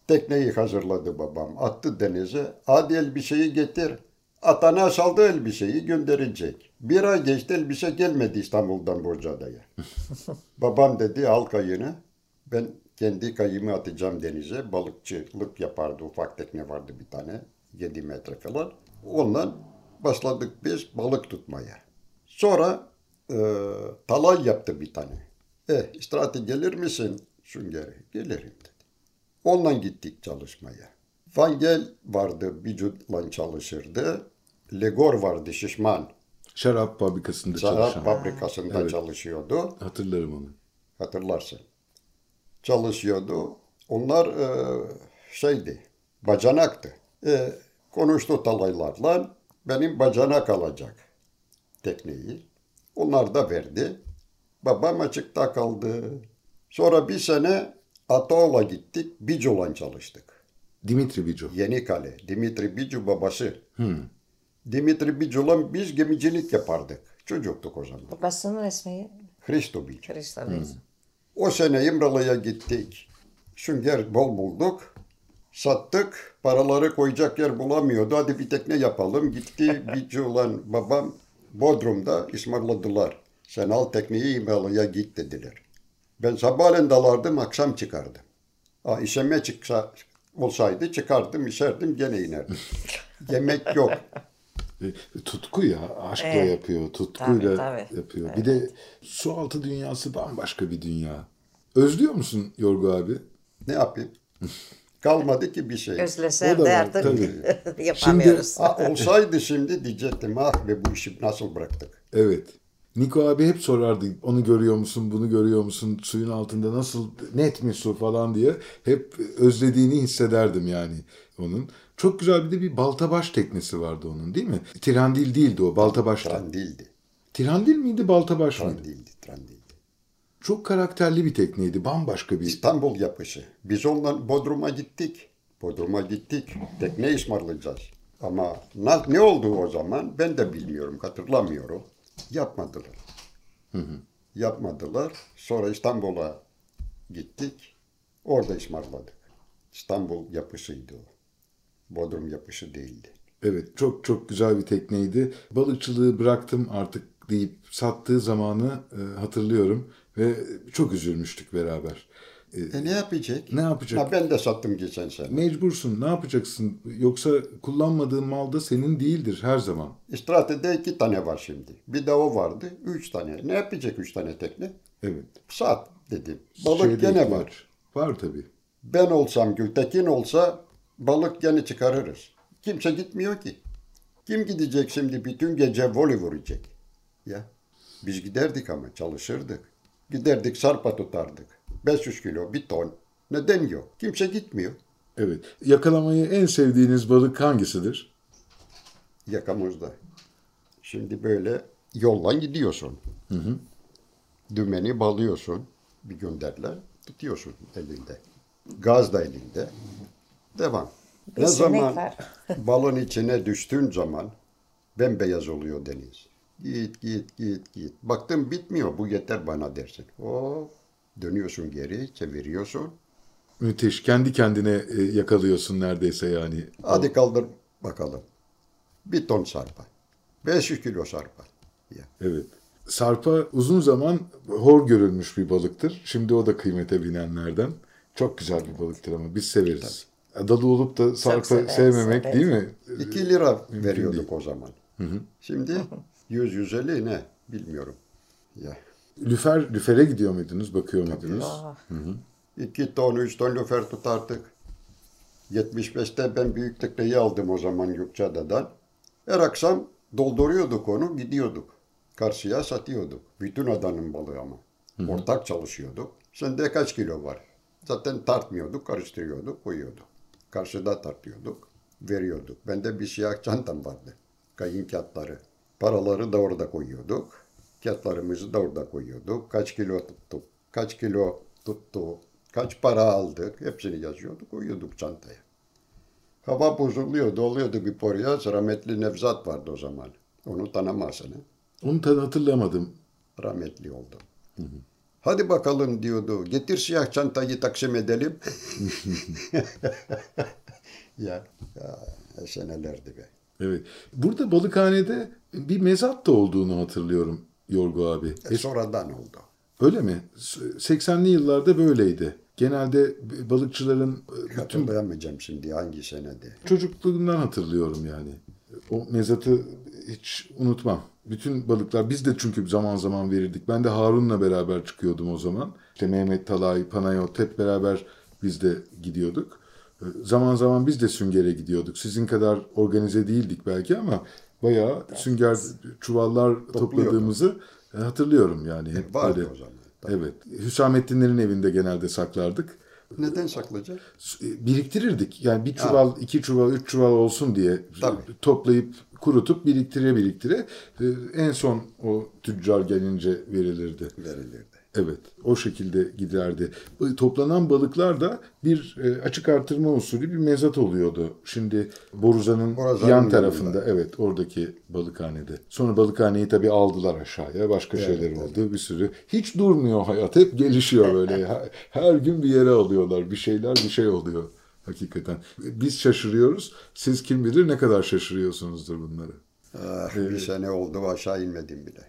Speaker 3: Tekneyi hazırladı babam, attı denize. Hadi elbiseyi getir. Atanas aldı elbiseyi gönderecek. Bir ay geçti elbise gelmedi İstanbul'dan Burcada'ya. babam dedi al kayını. Ben kendi kayımı atacağım denize. Balıkçılık yapardı. Ufak tekne vardı bir tane. 7 metre falan. Ondan başladık biz balık tutmaya. Sonra e, talay yaptı bir tane. E istirahate gelir misin süngeri? Gelirim dedi. Onunla gittik çalışmaya. Van Gel vardı vücutla çalışırdı. Legor vardı şişman.
Speaker 2: Şarap fabrikasında
Speaker 3: Şarap
Speaker 2: çalışan.
Speaker 3: fabrikasında çalışıyordu
Speaker 2: Hatırlarım onu.
Speaker 3: hatırlarsın. Çalışıyordu. Onlar e, şeydi, bacanaktı. E, konuştu talaylarla, benim bacanak alacak tekneyi. Onlar da verdi. Babam açıkta kaldı. Sonra bir sene Ataoğlu'na gittik. Biculan çalıştık.
Speaker 2: Dimitri Bicu.
Speaker 3: Yenikale, Dimitri Bicu babası. Dimitri Bicu'la biz gemicilik yapardık. Çocuktuk o zaman.
Speaker 4: Babasının ismi
Speaker 3: Hristo Bicu.
Speaker 4: Hristo Bey.
Speaker 3: O sene İmralı'ya gittik. Sünger bol bulduk. Sattık. Paraları koyacak yer bulamıyordu. Hadi bir tekne yapalım. Gitti Bicu olan babam Bodrum'da ısmarladılar. Sen al tekneyi İmralı'ya git dediler. Ben sabahleyin dalardım, akşam çıkardım. Ha, işeme çıksa olsaydı çıkardım, işerdim, gene inerdim. Yemek yok.
Speaker 2: E, Tutku ya. Aşkla
Speaker 4: Evet.
Speaker 2: yapıyor. Tutkuyla
Speaker 4: Tabii, tabii.
Speaker 2: yapıyor. Bir de su altı dünyası bambaşka bir dünya. Özlüyor musun Yorgu abi?
Speaker 3: Ne yapayım? Kalmadı ki bir şey.
Speaker 2: O da
Speaker 4: Özlesem
Speaker 2: var,
Speaker 4: de artık
Speaker 2: tabii.
Speaker 4: yapamıyoruz.
Speaker 3: Ha, olsaydı şimdi diyecektim ah be bu işi nasıl bıraktık.
Speaker 2: Evet. Niko abi hep sorardı. Onu görüyor musun, bunu görüyor musun, suyun altında nasıl, net mi su falan diye. Hep özlediğini hissederdim yani onun. Çok güzel bir de bir baltabaş teknesi vardı onun değil mi? Tirandil değildi o, baltabaştı.
Speaker 3: Trandildi.
Speaker 2: Tirandil miydi, baltabaş mıydı?
Speaker 3: Trandildi. Trandildi.
Speaker 2: Çok karakterli bir tekneydi, bambaşka bir...
Speaker 3: İstanbul yapışı. Biz onunla Bodrum'a gittik. Bodrum'a gittik. Tekne ısmarlayacağız. Ama na- ne oldu o zaman ben de bilmiyorum. Hatırlamıyorum. Yapmadılar. Yapmadılar. Sonra İstanbul'a gittik. Orada ısmarladık. İstanbul yapısıydı o. Bodrum yapışı değildi.
Speaker 2: Evet, çok çok güzel bir tekneydi. Balıkçılığı bıraktım artık deyip sattığı zamanı e, hatırlıyorum. Ve çok üzülmüştük beraber. E,
Speaker 3: E ne yapacak?
Speaker 2: Ne yapacak?
Speaker 3: Ha, ben de sattım geçen sene.
Speaker 2: Mecbursun, ne yapacaksın? Yoksa kullanmadığın mal da senin değildir her zaman.
Speaker 3: İstirahatte iki tane var şimdi. Bir de o vardı. Üç tane. Ne yapacak üç tane tekne?
Speaker 2: Evet.
Speaker 3: Saat dedim. Balık
Speaker 2: Şeyde
Speaker 3: gene
Speaker 2: ihtiyaç.
Speaker 3: var.
Speaker 2: Var tabii.
Speaker 3: Ben olsam Gültekin olsa balık gene çıkarırız. Kimse gitmiyor ki. Kim gidecek şimdi bütün gece voley vuracak? Ya biz giderdik ama çalışırdık. Giderdik sarpa tutardık. 500 kilo bir ton. Neden yok? Kimse gitmiyor.
Speaker 2: Evet. Yakalamayı en sevdiğiniz balık hangisidir?
Speaker 3: yakamızda. Şimdi böyle yoldan gidiyorsun. Dümeni balıyorsun. Bir gönderler. Tutuyorsun elinde. Gaz da elinde. Devam.
Speaker 4: Bir
Speaker 3: ne
Speaker 4: sinek
Speaker 3: zaman
Speaker 4: var.
Speaker 3: balın içine düştüğün zaman bembeyaz oluyor deniz. Git git git git. Baktım bitmiyor. Bu yeter bana dersin. O dönüyorsun geri, çeviriyorsun.
Speaker 2: Müthiş. Kendi kendine e, yakalıyorsun neredeyse yani.
Speaker 3: Hadi kaldır bakalım. Bir ton sarpa. 500 kilo sarpa. Ya.
Speaker 2: Evet. Sarpa uzun zaman hor görülmüş bir balıktır. Şimdi o da kıymete binenlerden. Çok güzel bir balıktır ama biz severiz. Adalı olup da sarpa
Speaker 4: severiz,
Speaker 2: sevmemek
Speaker 4: evet.
Speaker 2: değil mi?
Speaker 3: 2 lira veriyorduk o zaman. Şimdi 100 150 ne bilmiyorum. Ya.
Speaker 2: Lüfer, lüfere gidiyor muydunuz, bakıyor muydunuz?
Speaker 3: 2 ton 3 ton lüfer tutardık. 75'te ben büyük tekneyi aldım o zaman Gökçeada'dan. Her akşam dolduruyorduk onu gidiyorduk. Karşıya satıyorduk. Bütün adanın balığı ama. Ortak çalışıyorduk. Sende kaç kilo var? Zaten tartmıyorduk, karıştırıyorduk, koyuyorduk. Karşıda tartıyorduk, veriyorduk. Bende bir siyah çantam vardı. Kayın kağıtları. Paraları da orada koyuyorduk. Kağıtlarımızı da orada koyuyorduk. Kaç kilo tuttuk, kaç kilo tuttu, kaç para aldık. Hepsini yazıyorduk, koyuyorduk çantaya. Hava bozuluyordu, oluyordu bir poryaz. Rahmetli Nevzat vardı o zaman. Onu tanımazsın. ha.
Speaker 2: Onu tadı hatırlamadım.
Speaker 3: Rahmetli oldu. Hadi bakalım diyordu. Getir siyah çantayı taksim edelim. ya, ya senelerdi be.
Speaker 2: Evet. Burada balıkhanede bir mezat da olduğunu hatırlıyorum Yorgu abi.
Speaker 3: E, sonradan oldu.
Speaker 2: Öyle mi? S- 80'li yıllarda böyleydi. Genelde b- balıkçıların e, bütün
Speaker 3: Hatırlayamayacağım şimdi hangi senede.
Speaker 2: çocukluğumdan hatırlıyorum yani. O mezatı hiç unutmam. Bütün balıklar biz de çünkü zaman zaman verirdik. Ben de Harun'la beraber çıkıyordum o zaman. İşte Mehmet Talay, Panayot hep beraber biz de gidiyorduk. E, Zaman zaman biz de süngere gidiyorduk. Sizin kadar organize değildik belki ama bayağı sünger çuvallar topladığımızı e, hatırlıyorum yani. Hep
Speaker 3: Vardı
Speaker 2: böyle.
Speaker 3: o zaman.
Speaker 2: Evet. Hüsamettinlerin evinde genelde saklardık.
Speaker 3: Neden saklayacak?
Speaker 2: S- Biriktirirdik. Yani bir çuval, iki çuval, üç çuval olsun diye
Speaker 3: Tabii.
Speaker 2: toplayıp kurutup biriktire biriktire e, en son o tüccar gelince verilirdi.
Speaker 3: Verilirdi.
Speaker 2: Evet, o şekilde giderdi. Bu Toplanan balıklar da bir e, açık artırma usulü bir mezat oluyordu. Şimdi Boruza'nın
Speaker 3: Borazan'ın
Speaker 2: yan
Speaker 3: yanında.
Speaker 2: tarafında, evet oradaki balıkhanede. Sonra balıkhaneyi tabii aldılar aşağıya, başka şeyler oldu bir sürü. Hiç durmuyor hayat, hep gelişiyor böyle. Her- Her gün bir yere alıyorlar, bir şeyler bir şey oluyor hakikaten. Biz şaşırıyoruz, siz kim bilir ne kadar şaşırıyorsunuzdur bunları.
Speaker 3: Ah, bir sene oldu aşağı inmedim bile.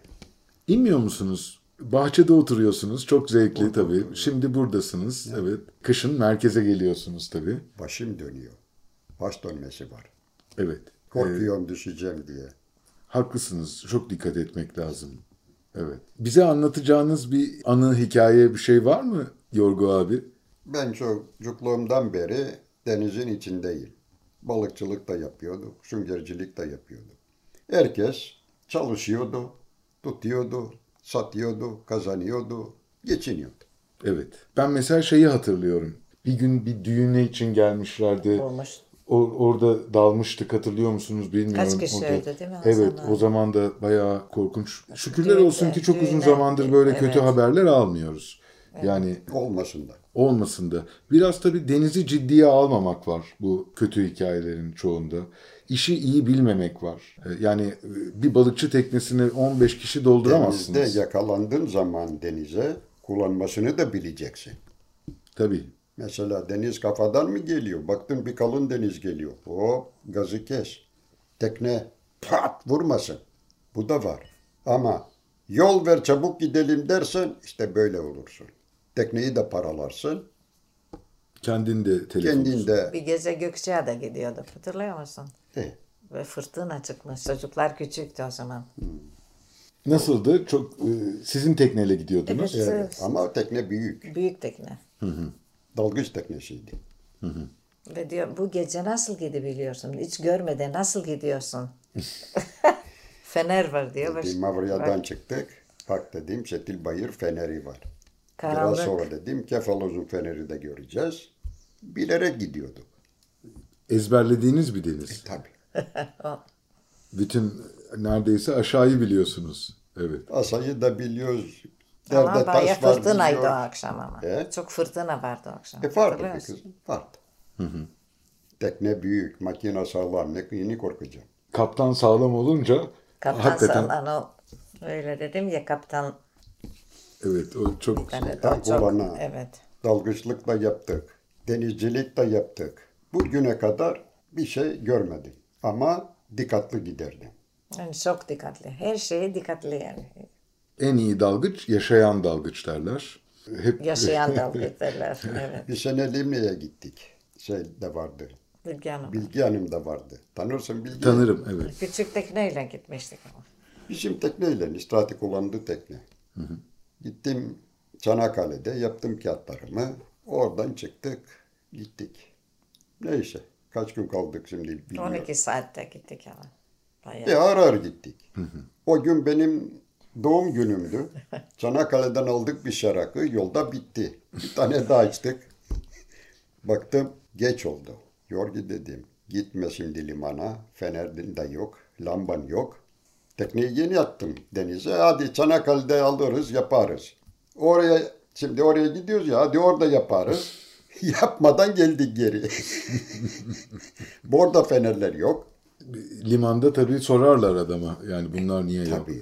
Speaker 2: İnmiyor musunuz? Bahçede oturuyorsunuz. Çok zevkli tabii. Şimdi buradasınız. Evet. Kışın merkeze geliyorsunuz tabii.
Speaker 3: Başım dönüyor. Baş dönmesi var.
Speaker 2: Evet. Ee,
Speaker 3: Korkuyorum düşeceğim diye.
Speaker 2: haklısınız. Çok dikkat etmek lazım. Evet. Bize anlatacağınız bir anı, hikaye, bir şey var mı Yorgo abi?
Speaker 3: Ben çocukluğumdan beri denizin içindeyim. Balıkçılık da yapıyorduk, süngercilik de yapıyorduk. Herkes çalışıyordu, tutuyordu, satıyordu, kazanıyordu, geçiniyordu.
Speaker 2: Evet. Ben mesela şeyi hatırlıyorum. Bir gün bir düğüne için gelmişlerdi.
Speaker 4: Olmuş.
Speaker 2: O- orada dalmıştık hatırlıyor musunuz bilmiyorum.
Speaker 4: Kaç kişi
Speaker 2: Orada-
Speaker 4: öldü değil mi o
Speaker 2: Evet
Speaker 4: zaman?
Speaker 2: o zaman da bayağı korkunç. Şükürler
Speaker 4: Düğünde,
Speaker 2: olsun ki çok uzun
Speaker 4: düğüne.
Speaker 2: zamandır böyle kötü
Speaker 4: Evet.
Speaker 2: haberler almıyoruz. Yani
Speaker 3: Olmasın da.
Speaker 2: olmasın da. Biraz tabii denizi ciddiye almamak var bu kötü hikayelerin çoğunda. İşi iyi bilmemek var. Ee, Yani bir balıkçı teknesini 15 kişi dolduramazsınız.
Speaker 3: Denizde yakalandığın zaman denize kullanmasını da bileceksin.
Speaker 2: Tabii.
Speaker 3: Mesela deniz kafadan mı geliyor? Baktın bir kalın deniz geliyor. Hop gazı kes. Tekne pat vurmasın. Bu da var. Ama yol ver çabuk gidelim dersen işte böyle olursun. Tekneyi de paralarsın.
Speaker 2: Kendin de telefon.
Speaker 3: Kendin de
Speaker 4: Bir gece Gökçeada gidiyorduk hatırlıyor musun?
Speaker 3: e,
Speaker 4: Ve fırtına çıkmış. Çocuklar küçüktü o zaman.
Speaker 2: Nasıldı? Çok e, sizin tekneyle gidiyordunuz.
Speaker 4: Evet.
Speaker 3: evet. ama tekne büyük.
Speaker 4: Büyük tekne.
Speaker 3: Dalgıç teknesiydi.
Speaker 4: Ve diyor bu gece nasıl gidebiliyorsun? Hiç görmeden nasıl gidiyorsun? Fener var diyor.
Speaker 3: Bir Mavria'dan çıktık. Bak dedim Çetilbayır feneri var.
Speaker 4: Karanlık.
Speaker 3: Biraz sonra dedim Kefaloz'un feneri de göreceğiz. Bilerek gidiyorduk.
Speaker 2: Ezberlediğiniz bir deniz.
Speaker 3: Tabii.
Speaker 2: Bütün neredeyse aşağıyı biliyorsunuz. Evet.
Speaker 3: Asayı da biliyoruz.
Speaker 4: Ama
Speaker 3: Derde
Speaker 4: bayağı
Speaker 3: taş var
Speaker 4: fırtınaydı o
Speaker 3: biliyor.
Speaker 4: akşam ama.
Speaker 3: He?
Speaker 4: Çok fırtına vardı o akşam.
Speaker 3: E vardı
Speaker 4: Hatırlıyor
Speaker 3: bir
Speaker 4: musun?
Speaker 3: kız. Vardı. Tekne büyük, makine sağlam. Ne yeni korkacağım.
Speaker 2: Kaptan sağlam olunca
Speaker 4: Kaptan
Speaker 2: hakikaten
Speaker 4: sallan o. Öyle dedim ya kaptan.
Speaker 2: evet o çok
Speaker 4: Yani
Speaker 3: Kaptan
Speaker 4: o çok,
Speaker 3: kullanı.
Speaker 4: evet.
Speaker 3: Dalgıçlık da yaptık. Denizcilik de yaptık. Bugüne kadar bir şey görmedim. Ama dikkatli giderdim.
Speaker 4: Yani çok dikkatli. Her şeye dikkatli yani.
Speaker 2: en iyi dalgıç yaşayan dalgıç derler. Hep
Speaker 4: Yaşayan dalga derler. Evet.
Speaker 3: Bir sene Limne'ye gittik. Şey de vardı.
Speaker 4: Bilgi Hanım.
Speaker 3: Bilgi Hanım da vardı. Tanırsın Bilgi Hanım.
Speaker 2: tanırım evet.
Speaker 4: Küçük tekneyle gitmiştik ama.
Speaker 3: Bizim tekneyle, istirahatı kullandığı tekne. Gittim Çanakkale'de, yaptım kağıtlarımı. Oradan çıktık, gittik. Neyse, kaç gün kaldık şimdi bilmiyorum.
Speaker 4: 12 saatte gittik ama. Bayağı.
Speaker 3: E ağır ağır gittik. O gün benim doğum günümdü. Çanakkale'den aldık bir şarkı, yolda bitti. Bir tane daha içtik. Baktım, geç oldu. Yorgi dedim, gitme şimdi limana, fenerin de yok, lamban yok. Tekneyi yeni attım denize, hadi Çanakkale'de alırız, yaparız. Oraya, şimdi oraya gidiyoruz ya, hadi orada yaparız. Yapmadan geldik geri. Borda fenerler yok.
Speaker 2: Limanda tabii sorarlar adama yani bunlar niye yok?
Speaker 3: Tabii.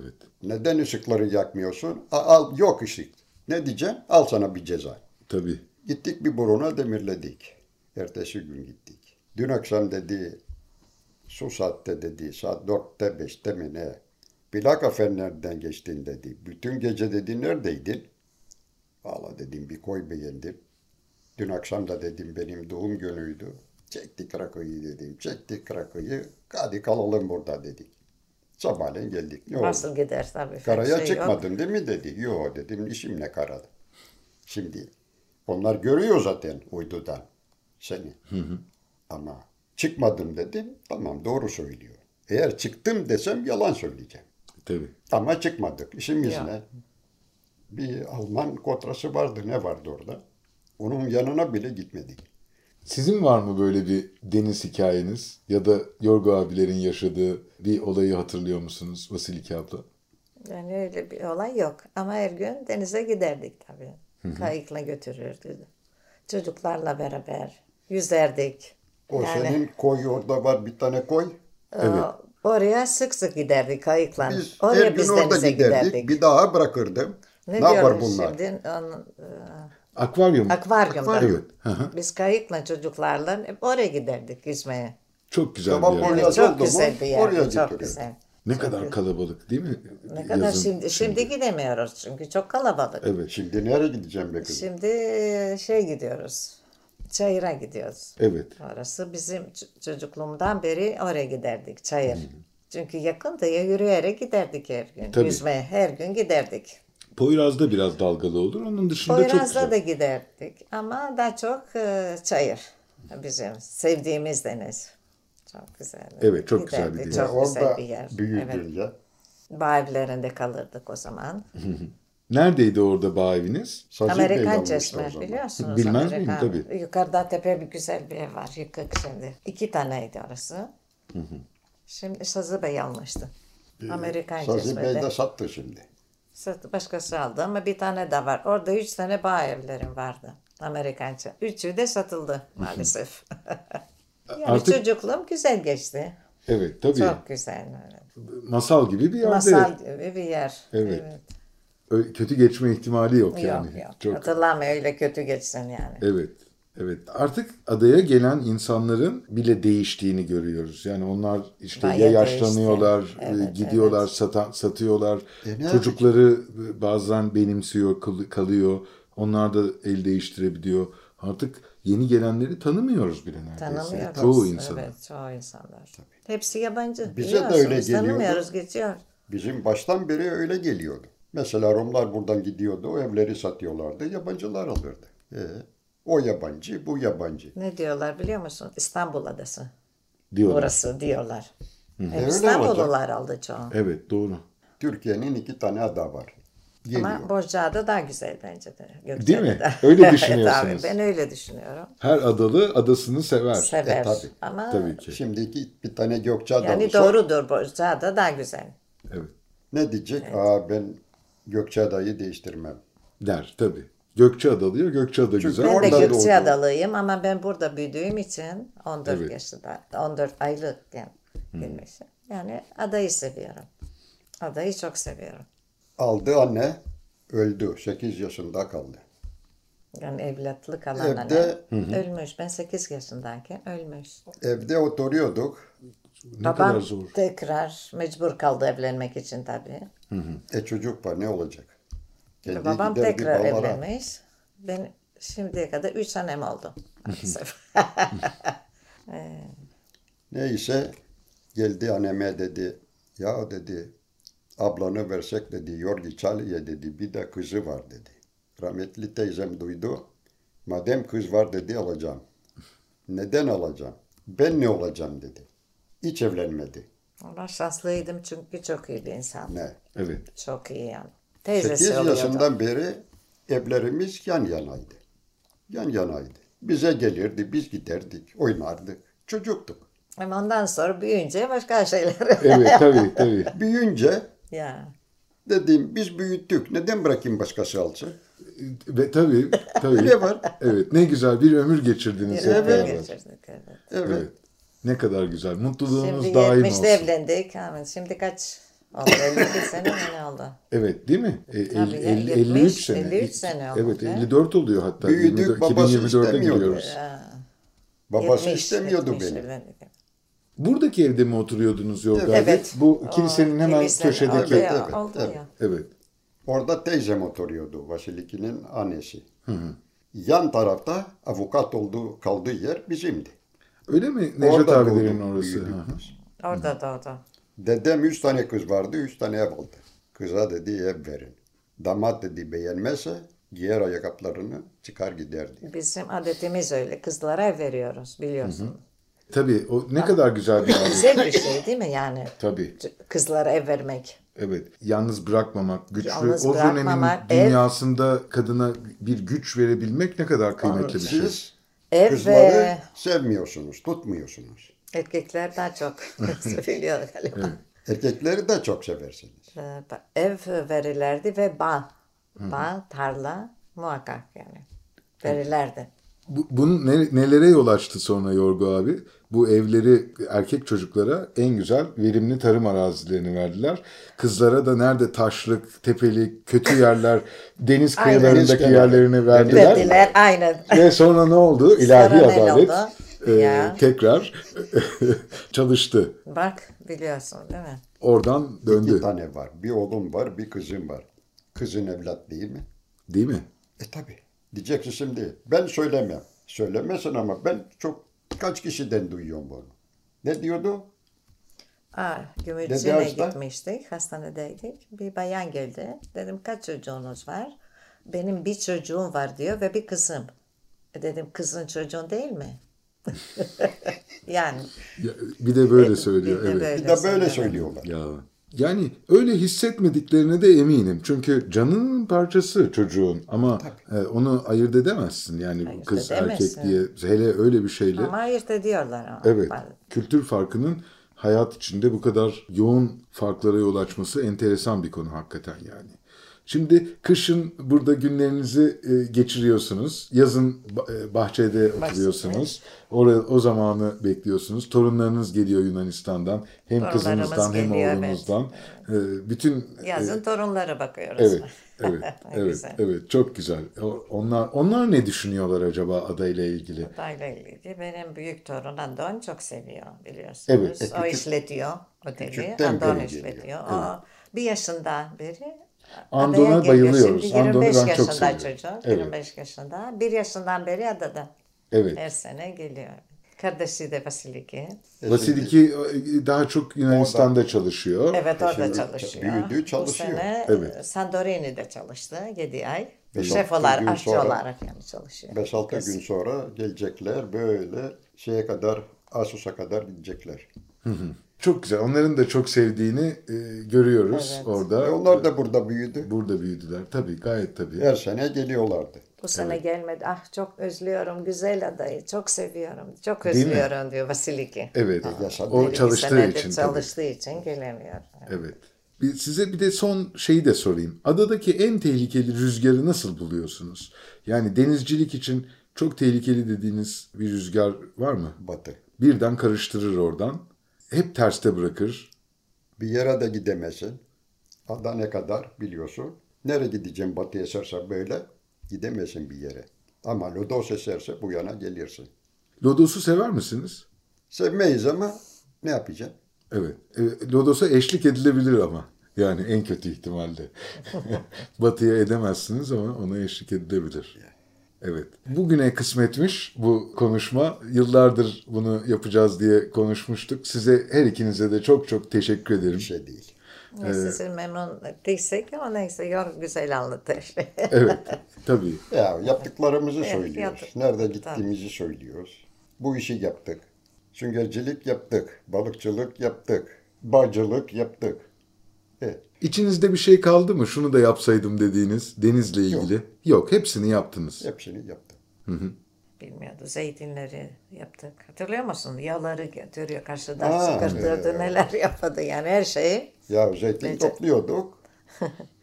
Speaker 2: Evet.
Speaker 3: Neden ışıkları yakmıyorsun? A- al yok ışık. Ne diyeceğim? Al sana bir ceza.
Speaker 2: Tabii.
Speaker 3: Gittik bir buruna demirledik. Ertesi gün gittik. Dün akşam dedi su saatte dedi saat dörtte beşte mi ne? Plaka fenerden geçtin dedi. Bütün gece dedi neredeydin? Valla dedim bir koy beğendim. Dün akşam da dedim benim doğum günüydü. Çektik rakıyı dedim. Çektik rakıyı. Hadi kalalım burada dedik. Sabahleyin geldik. Ne oldu?
Speaker 4: Nasıl gider tabii.
Speaker 3: Karaya
Speaker 4: Şey yok.
Speaker 3: çıkmadın değil mi dedi. Yo dedim işimle karada. Şimdi onlar görüyor zaten uydudan seni. Ama çıkmadım dedim. Tamam doğru söylüyor. Eğer çıktım desem yalan söyleyeceğim.
Speaker 2: Tabii.
Speaker 3: Ama çıkmadık. İşimiz
Speaker 4: Ya.
Speaker 3: ne? Bir Alman kotrası vardı. Ne vardı orada? Onun yanına bile gitmedik.
Speaker 2: Sizin var mı böyle bir deniz hikayeniz ya da Yorgo abilerin yaşadığı bir olayı hatırlıyor musunuz Vasiliki abla?
Speaker 4: Yani öyle bir olay yok. Ama her gün denize giderdik tabii. Kayıkla götürürdü. Çocuklarla beraber yüzerdik.
Speaker 3: O senin koyu orada var bir tane koy.
Speaker 2: Evet.
Speaker 4: Oraya sık sık giderdik kayıkla.
Speaker 3: Biz her
Speaker 4: Oraya
Speaker 3: gün
Speaker 4: biz
Speaker 3: orada
Speaker 4: denize
Speaker 3: giderdik.
Speaker 4: giderdik.
Speaker 3: Bir daha bırakırdım. Ne,
Speaker 4: Ne,
Speaker 3: yapar
Speaker 4: diyoruz
Speaker 3: bunlar?
Speaker 4: şimdi? Onun, e,
Speaker 2: Akvaryum.
Speaker 4: akvaryumda.
Speaker 2: Evet. Hı hı.
Speaker 4: Biz kayıkla çocuklarla hep oraya giderdik yüzmeye.
Speaker 2: Çok güzel
Speaker 3: Tamam,
Speaker 2: bir yer.
Speaker 3: oraya- Yaz oldu
Speaker 4: çok
Speaker 3: mu,
Speaker 4: güzel bir yer.
Speaker 3: oraya
Speaker 4: çok
Speaker 3: götürüyor.
Speaker 4: güzel.
Speaker 2: Ne kadar kalabalık değil mi?
Speaker 4: Ne kadar
Speaker 2: Yazın.
Speaker 4: şimdi, şimdi gidemiyoruz çünkü çok kalabalık.
Speaker 2: Evet. şimdi-
Speaker 3: Şimdi nereye gideceğim be kızım?
Speaker 4: Şimdi e, şey gidiyoruz. Çayıra gidiyoruz.
Speaker 2: Evet.
Speaker 4: Orası bizim ç- çocukluğumdan beri oraya giderdik çayır. Çünkü yakındı ya yürüyerek giderdik her gün.
Speaker 2: E, Tabii.
Speaker 4: Yüzmeye her gün giderdik.
Speaker 2: Poyraz'da biraz dalgalı olur. Onun dışında çok güzel.
Speaker 4: Poyraz'da da giderdik ama daha çok e, çayır bizim sevdiğimiz deniz. Çok güzel.
Speaker 2: Evet, çok güzel bir
Speaker 4: Giderdik,
Speaker 2: deniz.
Speaker 4: Çok
Speaker 3: orada
Speaker 4: güzel bir yer.
Speaker 3: büyüdün
Speaker 4: Evet.
Speaker 3: ya.
Speaker 4: Bağ evlerinde kalırdık o zaman.
Speaker 2: Neredeydi orada bağ eviniz?
Speaker 3: Sazı
Speaker 4: Amerikan
Speaker 3: Bey'den
Speaker 4: çeşme
Speaker 3: usta o zaman.
Speaker 4: biliyorsunuz.
Speaker 2: Bilmez miyim?
Speaker 4: Amerikan.
Speaker 2: Tabii.
Speaker 4: Yukarıda tepe bir güzel bir ev var yıkık şimdi. İki taneydi orası. Şimdi Sazı Bey almıştı.
Speaker 2: Ee,
Speaker 4: Amerikan
Speaker 3: Sazı Bey
Speaker 4: çeşmede.
Speaker 3: de sattı şimdi.
Speaker 4: Sat- Başkası aldı ama bir tane de var. Orada üç tane bağ evlerim vardı. Amerikan çe- Üçü de satıldı maalesef. yani
Speaker 2: Artık-
Speaker 4: çocukluğum güzel geçti.
Speaker 2: Evet tabii.
Speaker 4: Çok güzel.
Speaker 2: Masal gibi bir yerde.
Speaker 4: Masal gibi bir yer.
Speaker 2: Evet. Ö- Kötü geçme ihtimali yok,
Speaker 4: Yok
Speaker 2: yani.
Speaker 4: yok.
Speaker 2: Çok
Speaker 4: Hatırlama öyle kötü geçsin yani.
Speaker 2: Evet. Evet. Artık adaya gelen insanların bile değiştiğini görüyoruz. Yani onlar işte ya
Speaker 4: Bayağı
Speaker 2: yaşlanıyorlar,
Speaker 4: değişti. Evet,
Speaker 2: e, gidiyorlar, satan, satıyorlar.
Speaker 3: ne
Speaker 2: Çocukları e, bazen benimsiyor, kal- kalıyor. Onlar da el değiştirebiliyor. Artık yeni gelenleri tanımıyoruz bile neredeyse.
Speaker 4: Tanımıyoruz.
Speaker 2: Çoğu insanı.
Speaker 4: Evet, çoğu insanlar. Hepsi yabancı.
Speaker 3: Bize de
Speaker 4: biliyorsunuz.
Speaker 3: öyle geliyordu.
Speaker 4: Tanımıyoruz, geçiyor.
Speaker 3: Bizim baştan beri öyle geliyordu. Mesela Rumlar buradan gidiyordu, o evleri satıyorlardı, yabancılar alırdı. Ee, o yabancı, bu yabancı.
Speaker 4: Ne diyorlar biliyor musun? İstanbul Adası.
Speaker 2: Diyorlar.
Speaker 4: Burası diyorlar.
Speaker 3: öyle
Speaker 4: Hep
Speaker 3: olacak.
Speaker 4: İstanbullular aldı çoğu.
Speaker 2: Evet, doğru.
Speaker 3: Türkiye'nin iki tane ada var. Geliyor.
Speaker 4: Ama Bozcaada daha güzel bence de. Gökçeada
Speaker 2: Değil mi?
Speaker 4: da.
Speaker 2: Öyle
Speaker 4: Evet
Speaker 2: düşünüyorsunuz.
Speaker 4: abi, ben öyle düşünüyorum.
Speaker 2: Her adalı adasını sever.
Speaker 4: Sever.
Speaker 3: E, tabii.
Speaker 4: Ama
Speaker 2: Tabii ki.
Speaker 3: Şimdi iki, bir tane Gökçeada
Speaker 4: yani
Speaker 3: olsa
Speaker 4: doğrudur Bozcaada daha güzel.
Speaker 2: Evet.
Speaker 3: ne diyecek? Aa ben Gökçeada'yı değiştirmem.
Speaker 2: Der tabii. Gökçeadalı'ya Gökçeada güzel.
Speaker 4: Ben de
Speaker 3: Oradan doğdu.
Speaker 4: Gökçeadalıyım ama ben burada büyüdüğüm için 14
Speaker 2: Evet.
Speaker 4: yaşında, 14 aylıkken girmişim. Yani adayı seviyorum. Adayı çok seviyorum.
Speaker 3: Aldı anne, öldü. 8 yaşında kaldı.
Speaker 4: Yani evlatlık alan
Speaker 3: Evde-
Speaker 4: annem ölmüş. Ben 8 yaşındayken ölmüş.
Speaker 3: Evde oturuyorduk.
Speaker 2: Ne kadar
Speaker 4: Babam
Speaker 2: zor.
Speaker 4: tekrar mecbur kaldı evlenmek için tabii.
Speaker 3: E çocuk var ne olacak? Kendi
Speaker 4: Babam
Speaker 3: gider bir
Speaker 4: tekrar
Speaker 3: balara.
Speaker 4: evlenmiş. Ben şimdiye kadar 3 annem oldu. maalesef.
Speaker 3: Neyse geldi anneme dedi. Ya dedi ablanı versek dedi Yorgi Çalı'ya dedi bir de kızı var dedi. Rahmetli teyzem duydu. Madem kız var dedi alacağım. Neden alacağım? Ben ne olacağım dedi. Hiç evlenmedi.
Speaker 4: Ama şanslıydım çünkü çok iyi bir insan.
Speaker 3: Ne?
Speaker 2: Evet.
Speaker 4: Çok iyi yani.
Speaker 3: 8
Speaker 4: Teyzesi oluyordu.
Speaker 3: yaşından beri evlerimiz yan yanaydı. Yan yanaydı. Bize gelirdi, biz giderdik, oynardık. Çocuktuk.
Speaker 4: Ama ondan sonra büyüyünce başka şeyler.
Speaker 2: Evet tabii tabii.
Speaker 3: Büyüyünce
Speaker 4: ya.
Speaker 3: Dedim biz büyüttük. Neden bırakayım başkası alsın?
Speaker 2: Ve tabii tabii.
Speaker 3: Ne var?
Speaker 2: Evet ne güzel bir ömür geçirdiniz hep
Speaker 4: Evet.
Speaker 2: beraber.
Speaker 4: geçirdik, evet.
Speaker 3: Evet.
Speaker 2: Evet. Ne kadar güzel. Mutluluğunuz
Speaker 4: Şimdi
Speaker 2: daim
Speaker 4: 70'de
Speaker 2: olsun.
Speaker 4: evlendik. Amin. Şimdi kaç oldu? 52 sene mi ne oldu?
Speaker 2: Evet değil mi? E,
Speaker 4: Tabii
Speaker 2: el-
Speaker 4: ya,
Speaker 2: el-
Speaker 4: 70,
Speaker 2: 53 sene.
Speaker 4: 53 sene oldu,
Speaker 2: Evet
Speaker 4: he?
Speaker 2: 54 oluyor hatta.
Speaker 3: Büyüdük,
Speaker 2: 24
Speaker 3: babası
Speaker 2: 2024'e
Speaker 3: istemiyordu.
Speaker 2: giriyoruz.
Speaker 3: Babası
Speaker 4: 70,
Speaker 3: istemiyordu
Speaker 4: 70
Speaker 3: beni.
Speaker 4: evlendik.
Speaker 2: Buradaki evde mi oturuyordunuz Yorga?
Speaker 3: Evet.
Speaker 4: Evet.
Speaker 2: Bu kilisenin
Speaker 4: O
Speaker 2: hemen
Speaker 4: kilisenin
Speaker 2: köşedeki.
Speaker 4: Oldu ya.
Speaker 3: Evet,
Speaker 4: oldu
Speaker 3: evet.
Speaker 4: ya.
Speaker 2: Evet.
Speaker 3: Orada teyzem oturuyordu. Vasiliki'nin annesi. Yan tarafta avukat olduğu kaldığı yer bizimdi.
Speaker 2: Öyle mi? Necdet
Speaker 3: Orada
Speaker 2: abilerin
Speaker 3: doğduk,
Speaker 2: orası.
Speaker 3: büyüdük
Speaker 2: Hı hı.
Speaker 3: biz.
Speaker 4: Orada doğdu.
Speaker 3: Dedem üç tane kız vardı, üç tane ev aldı. Kıza dedi ev verin. Damat dedi beğenmezse giyer ayakkabılarını çıkar giderdi.
Speaker 4: Bizim adetimiz öyle. Kızlara ev veriyoruz biliyorsun.
Speaker 2: Tabii o ne kadar güzel bir adet.
Speaker 4: Güzel bir şey değil mi yani?
Speaker 2: Tabii.
Speaker 4: Kızlara ev vermek.
Speaker 2: Evet. Yalnız bırakmamak, güçlü
Speaker 4: Yalnız
Speaker 2: o dönemin
Speaker 4: bırakmamak, ev-
Speaker 2: dünyasında kadına bir güç verebilmek ne kadar kıymetli bir şey.
Speaker 3: Siz
Speaker 4: Ev
Speaker 3: kızları
Speaker 4: ve
Speaker 3: sevmiyorsunuz, tutmuyorsunuz.
Speaker 4: erkekler daha çok biliyor galiba.
Speaker 3: Erkekleri de çok seversiniz.
Speaker 4: Ee, ev verilirdi ve bağ. Bağ, tarla muhakkak yani. Verilirdi.
Speaker 2: Bu, bunun ne- nelere yol açtı sonra Yorgu abi? Bu evleri erkek çocuklara en güzel verimli tarım arazilerini verdiler. Kızlara da nerede taşlık, tepelik, kötü yerler, deniz
Speaker 4: Aynen.
Speaker 2: kıyılarındaki
Speaker 3: Deniz
Speaker 2: yerlerini verdiler.
Speaker 4: Dediler aynen.
Speaker 2: Ve sonra ne oldu? İlahi
Speaker 4: Sonra ne
Speaker 2: adalet
Speaker 4: oldu?
Speaker 2: e,
Speaker 4: Ya.
Speaker 2: tekrar çalıştı.
Speaker 4: Bak biliyorsun değil mi?
Speaker 2: Oradan
Speaker 3: İki
Speaker 2: döndü.
Speaker 3: tane var. Bir oğlum var, bir kızım var. Kızın evlat değil mi?
Speaker 2: Değil mi?
Speaker 3: E tabi. Diyeceksin şimdi. Ben söylemem. Söylemesin ama ben çok kaç kişiden duyuyorum bunu. Ne diyordu?
Speaker 4: Aa,
Speaker 3: Dede
Speaker 4: Gümrütçü'ne
Speaker 3: hasta.
Speaker 4: gitmiştik, hastanedeydik. Bir bayan geldi. Dedim kaç çocuğunuz var? Benim bir çocuğum var diyor ve bir kızım. E Dedim kızın çocuğun değil mi? yani.
Speaker 2: Ya, Bir de böyle
Speaker 4: bir-
Speaker 2: söylüyor.
Speaker 4: bir de
Speaker 2: evet.
Speaker 4: böyle.
Speaker 3: Bir de böyle
Speaker 4: söylüyor.
Speaker 3: söylüyorlar.
Speaker 2: Ya yani öyle hissetmediklerine de eminim. Çünkü canının parçası çocuğun ama e, onu ayırt edemezsin. Yani
Speaker 4: Ayırt
Speaker 2: kız
Speaker 4: edemezsin.
Speaker 2: erkek diye hele öyle bir şeyle.
Speaker 4: Ama ayırt ediyorlar ama.
Speaker 2: evet.
Speaker 4: Bazı-
Speaker 2: Kültür farkının hayat içinde bu kadar yoğun farklara yol açması enteresan bir konu hakikaten yani. Şimdi kışın burada günlerinizi e, geçiriyorsunuz. Yazın ba- e, bahçede oturuyorsunuz. Oraya, o zamanı bekliyorsunuz. Torunlarınız geliyor Yunanistan'dan. Hem
Speaker 4: Torunlarımız
Speaker 2: kızınızdan hem
Speaker 4: geliyor, evet.
Speaker 2: oğlunuzdan. E, Bütün
Speaker 4: Yazın torunlara bakıyoruz.
Speaker 2: Evet, evet, evet,
Speaker 4: Güzel.
Speaker 2: evet. Çok güzel. O- Onlar, onlar ne düşünüyorlar acaba adayla ilgili?
Speaker 4: Adayla ilgili benim büyük torun Andon çok seviyor biliyorsunuz.
Speaker 2: Evet. e,
Speaker 4: o işletiyor oteli.
Speaker 3: küçükten
Speaker 4: Andon
Speaker 3: beri
Speaker 4: işletiyor. O bir yaşından beri
Speaker 2: Andon'a
Speaker 4: adaya geliyor.
Speaker 2: bayılıyoruz.
Speaker 4: Şimdi
Speaker 2: Andon'u
Speaker 4: 25
Speaker 2: ben çok
Speaker 4: yaşında
Speaker 2: seviyorum.
Speaker 4: çocuğu.
Speaker 2: Evet.
Speaker 4: 25 yaşında. Bir yaşından beri adada.
Speaker 2: Evet.
Speaker 4: Her sene geliyor. Kardeşi de Vasiliki.
Speaker 2: Vasiliki e, daha çok Yunanistan'da çalışıyor.
Speaker 4: Evet orada
Speaker 3: Şimdi
Speaker 4: çalışıyor.
Speaker 3: büyüdü, çalışıyor.
Speaker 4: Bu sene
Speaker 2: Evet.
Speaker 4: Sandorini'de çalıştı 7 ay.
Speaker 3: Ve
Speaker 4: Şef
Speaker 3: dokuz gün
Speaker 4: olarak, aşçı
Speaker 3: sonra-
Speaker 4: olarak yani çalışıyor.
Speaker 3: 5-6
Speaker 4: Kız.
Speaker 3: gün sonra gelecekler böyle şeye kadar Asus'a kadar gidecekler.
Speaker 2: Çok güzel. Onların da çok sevdiğini e, görüyoruz
Speaker 4: Evet.
Speaker 2: orada.
Speaker 3: E onlar da burada büyüdü.
Speaker 2: Burada büyüdüler. Tabii gayet tabii.
Speaker 3: Her sene geliyorlardı.
Speaker 4: Bu sene gelmedi. Ah çok özlüyorum güzel adayı. Çok seviyorum. Çok
Speaker 2: Değil mi?
Speaker 4: özlüyorum diyor Vasiliki.
Speaker 2: Evet.
Speaker 3: yaşadı.
Speaker 2: o
Speaker 3: Bir
Speaker 4: Bir
Speaker 2: çalıştığı
Speaker 4: senedir
Speaker 2: için tabii.
Speaker 4: Çalıştığı için gelemiyor.
Speaker 2: Evet. Bir, size bir de son şeyi de sorayım. Adadaki en tehlikeli rüzgarı nasıl buluyorsunuz? Yani denizcilik için çok tehlikeli dediğiniz bir rüzgar var mı?
Speaker 3: Batı.
Speaker 2: Birden karıştırır oradan. Hep terste bırakır.
Speaker 3: Bir yere de gidemesin. Ada ne kadar biliyorsun. Nereye gideceğim batı eserse böyle gidemesin bir yere. Ama lodos eserse bu yana gelirsin.
Speaker 2: Lodos'u sever misiniz?
Speaker 3: Sevmeyiz ama ne yapacaksın?
Speaker 2: Evet. E, Lodos'a eşlik edilebilir ama. Yani en kötü ihtimalle. Batıya edemezsiniz ama ona eşlik edilebilir. Evet. Bugüne kısmetmiş bu konuşma. Yıllardır bunu yapacağız diye konuşmuştuk. Size her ikinize de çok çok teşekkür ederim.
Speaker 3: Bir şey değil.
Speaker 4: Neyse siz memnun değilsek ama neyse yor güzel anlatır.
Speaker 2: Evet. Tabii.
Speaker 3: Ya yaptıklarımızı
Speaker 4: Evet,
Speaker 3: söylüyoruz.
Speaker 4: yaptık.
Speaker 3: Nerede gittiğimizi söylüyoruz. Bu işi yaptık. Süngercilik yaptık. Balıkçılık yaptık. Bağcılık yaptık. Evet.
Speaker 2: İçinizde bir şey kaldı mı? Şunu da yapsaydım dediğiniz denizle ilgili. Yok. hepsini yaptınız.
Speaker 3: Hepsini yaptık.
Speaker 4: Bilmiyordu. Zeytinleri yaptık. Hatırlıyor musun? Yağları getiriyor karşıdan
Speaker 3: Aa,
Speaker 4: sıkıştırdı. Neler yapmadı yani her şey şeyi.
Speaker 3: Ya zeytin topluyorduk.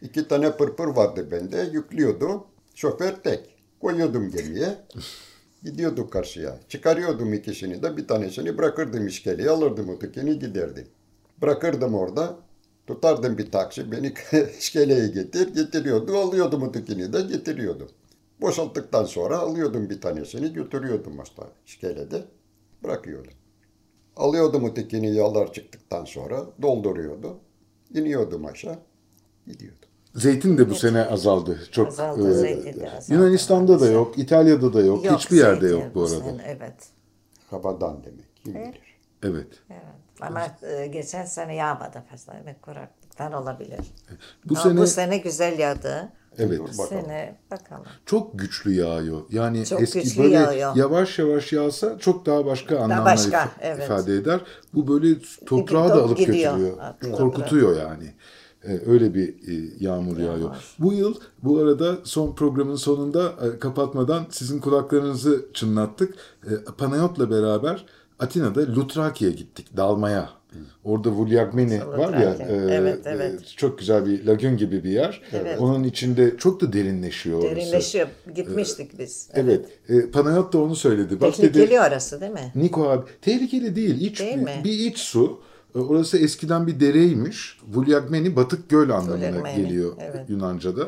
Speaker 3: İki tane pırpır vardı bende. Yüklüyordu. Şoför tek. Koyuyordum gemiye. Gidiyorduk karşıya. Çıkarıyordum ikisini de bir tanesini bırakırdım iskeleye alırdım ötekini giderdim. Bırakırdım orada. Tutardım bir taksi beni iskeleye getir getiriyordu. Alıyordum ötekini de getiriyordum. Boşalttıktan sonra alıyordum bir tanesini götürüyordum hasta iskelede. Bırakıyordum. Alıyordum ötekini yollar çıktıktan sonra dolduruyordu. İniyordum aşağı. Gidiyordum.
Speaker 2: Zeytin de bu sene azaldı. Çok
Speaker 4: Azaldı
Speaker 2: e,
Speaker 4: zeytin de azaldı.
Speaker 2: Yunanistan'da da yok, İtalya'da da yok, hiçbir yerde
Speaker 4: zeytin
Speaker 2: yok bu arada.
Speaker 4: sene, evet.
Speaker 3: Kabadan demek. Kim bilir.
Speaker 2: Evet.
Speaker 4: Evet. Ama e, geçen sene yağmadı fazla. Evet, kuraklıktan olabilir.
Speaker 2: Bu
Speaker 4: ama
Speaker 2: sene
Speaker 4: bu sene güzel yağdı.
Speaker 2: evet
Speaker 3: Dur
Speaker 4: Bu
Speaker 3: bakalım.
Speaker 4: sene bakalım.
Speaker 2: çok güçlü yağıyor. Yani
Speaker 4: Çok
Speaker 2: eski
Speaker 4: güçlü
Speaker 2: böyle
Speaker 4: yağıyor.
Speaker 2: yavaş yavaş yağsa çok daha başka anlamlar
Speaker 4: başka,
Speaker 2: ifa-
Speaker 4: evet.
Speaker 2: ifade eder. Bu böyle toprağı da
Speaker 4: Top
Speaker 2: alıp
Speaker 4: gidiyor.
Speaker 2: götürüyor.
Speaker 4: Aklına
Speaker 2: Korkutuyor yani. Ee, Öyle bir e, yağmur yağıyor. Bu yıl bu arada son programın sonunda e, kapatmadan sizin kulaklarınızı çınlattık. E, Panayot'la beraber Atina'da Lutraki'ye gittik dalmaya. Orada Vulyagmeni
Speaker 4: Sonra
Speaker 2: var ya.
Speaker 4: Trakya.
Speaker 2: e,
Speaker 4: Evet,
Speaker 2: e,
Speaker 4: evet.
Speaker 2: Çok güzel bir lagün gibi bir yer.
Speaker 4: Evet.
Speaker 2: Onun içinde çok da derinleşiyor orası.
Speaker 4: Derinleşiyor. Gitmiştik biz.
Speaker 2: Ee, Evet. E, Panayot da onu söyledi. Bak dedi,
Speaker 4: Tehlikeli orası değil mi?
Speaker 2: Niko abi tehlikeli değil. İç,
Speaker 4: Değil mi?
Speaker 2: Bir iç su. E, Orası eskiden bir dereymiş. Vulyagmeni batık göl anlamına
Speaker 4: Vulyagmeni,
Speaker 2: geliyor
Speaker 4: evet.
Speaker 2: Yunanca'da.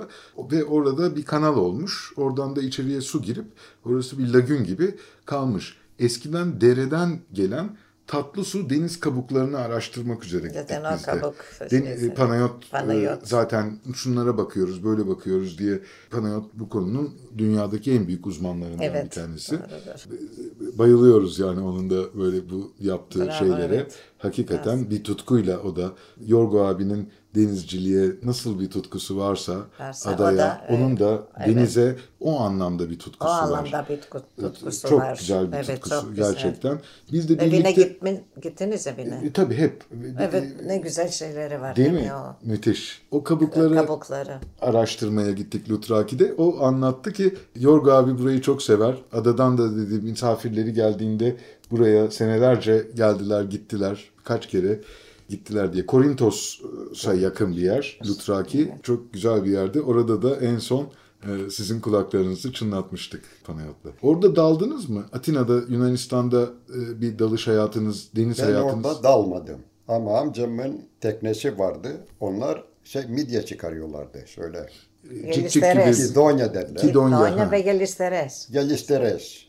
Speaker 2: Ve orada bir kanal olmuş. Oradan da içeriye su girip orası bir lagün gibi kalmış. Eskiden dereden gelen tatlı su deniz kabuklarını araştırmak üzere gittik
Speaker 4: Zaten o
Speaker 2: biz de.
Speaker 4: kabuk
Speaker 2: Den-
Speaker 4: meselesi.
Speaker 2: e, Panayot, e,
Speaker 4: Panayot.
Speaker 2: zaten şunlara bakıyoruz böyle bakıyoruz diye Panayot bu konunun dünyadaki en büyük uzmanlarından
Speaker 4: Evet.
Speaker 2: bir tanesi
Speaker 4: Doğrudur.
Speaker 2: bayılıyoruz yani onun da böyle bu yaptığı
Speaker 4: Bravo,
Speaker 2: şeylere.
Speaker 4: evet.
Speaker 2: Hakikaten bir tutkuyla o da Yorgo abinin denizciliğe nasıl bir tutkusu varsa
Speaker 4: Varsa,
Speaker 2: adaya
Speaker 4: o da,
Speaker 2: onun
Speaker 4: evet,
Speaker 2: da
Speaker 4: evet.
Speaker 2: denize o anlamda bir
Speaker 4: O
Speaker 2: tutkusu var. Ee,
Speaker 4: anlamda bir tut- tutkusu
Speaker 2: çok
Speaker 4: var.
Speaker 2: güzel bir
Speaker 4: evet,
Speaker 2: tutkusu
Speaker 4: çok güzel.
Speaker 2: gerçekten. Biz de
Speaker 4: Evine
Speaker 2: birlikte
Speaker 4: gitme, gittiniz evine.
Speaker 2: E, tabii hep
Speaker 4: Evet ne güzel şeyleri var
Speaker 2: değil
Speaker 4: değil,
Speaker 2: mi?
Speaker 4: O
Speaker 2: Müthiş. O kabukları
Speaker 4: kabukları.
Speaker 2: araştırmaya gittik Lutraki'de. O anlattı ki Yorgo abi burayı çok sever. Adadan da dedi misafirleri geldiğinde buraya senelerce geldiler gittiler. Kaç kere gittiler diye. Korintos'a yakın bir yer Lutraki. Çok güzel bir yerde. Orada da en son e, sizin kulaklarınızı çınlatmıştık Panayot'la. Orada daldınız mı? Atina'da, Yunanistan'da e, bir dalış hayatınız, deniz
Speaker 3: Ben
Speaker 2: hayatınız.
Speaker 3: orada dalmadım. Ama amcamın teknesi vardı. Onlar şey midye çıkarıyorlardı şöyle.
Speaker 2: e, Cik cik gibi.
Speaker 4: Yelisteres.
Speaker 3: Kidonya derler.
Speaker 2: Kido- Kidonya, ha.
Speaker 4: Donya ve Gelisteres
Speaker 3: Gelisteres.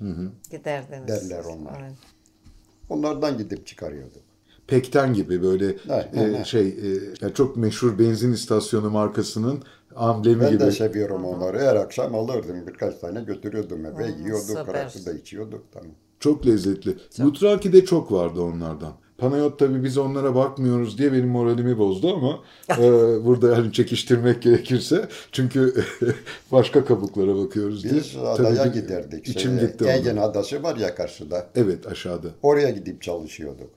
Speaker 4: giderdiniz.
Speaker 3: Derler onlar.
Speaker 4: Evet.
Speaker 3: Onlardan gidip çıkarıyorduk.
Speaker 2: Pekten gibi böyle
Speaker 3: Evet,
Speaker 2: e,
Speaker 3: evet.
Speaker 2: şey e, yani çok meşhur benzin istasyonu markasının amblemi
Speaker 3: Ben
Speaker 2: gibi.
Speaker 3: de şey- seviyorum onları. Her akşam alırdım. Birkaç tane götürüyordum eve. Yiyorduk,
Speaker 4: süper.
Speaker 3: rakı da içiyorduk. Tamam.
Speaker 2: Çok lezzetli. Lutraki'de çok vardı onlardan. Panayot tabii biz onlara bakmıyoruz diye benim moralimi bozdu ama e, burada hani çekiştirmek gerekirse çünkü başka kabuklara bakıyoruz diye.
Speaker 3: Biz adaya
Speaker 2: Tabii ki
Speaker 3: giderdik.
Speaker 2: İçim
Speaker 3: Şeye,
Speaker 2: gitti.
Speaker 3: Egen
Speaker 2: ondan.
Speaker 3: adası var ya karşıda.
Speaker 2: Evet aşağıda.
Speaker 3: Oraya gidip çalışıyorduk.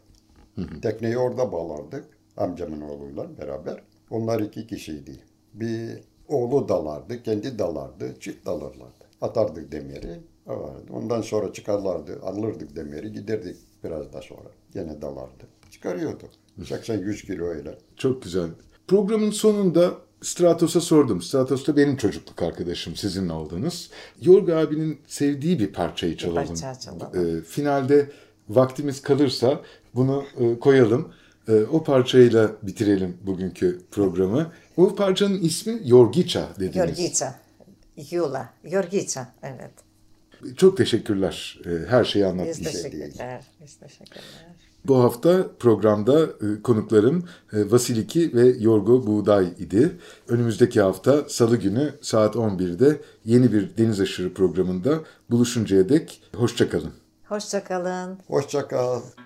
Speaker 3: Tekneyi orada bağlardık. Amcamın oğluyla beraber. Onlar iki kişiydi. Bir oğlu dalardı, kendi dalardı, çift dalarlardı. Atardık demiri. alardı. Ondan sonra çıkarlardı, alırdık demiri, giderdik biraz da sonra. Gene dalardı. Çıkarıyorduk. 80-100 kilo öyle.
Speaker 2: Çok güzel. Programın sonunda Stratos'a sordum. Stratos da benim çocukluk arkadaşım. Sizin oldunuz. Yorga abinin sevdiği bir parçayı çalalım.
Speaker 4: parça çalalım.
Speaker 2: Ee, finalde vaktimiz kalırsa bunu e, koyalım. E, o parçayla bitirelim bugünkü programı. Bu parçanın ismi Yorgiça dediniz.
Speaker 4: Yorgica. Yula. Yorgica. Evet.
Speaker 2: Çok teşekkürler e, her şeyi
Speaker 4: Biz
Speaker 2: anlattığınız için.
Speaker 4: teşekkürler. Biz teşekkürler.
Speaker 2: Bu hafta programda e, konuklarım e, Vasiliki ve Yorgo Buğday idi. Önümüzdeki hafta salı günü saat 11'de yeni bir Deniz Aşırı programında buluşuncaya dek hoşçakalın.
Speaker 4: Hoşçakalın.
Speaker 3: Hoşça kal.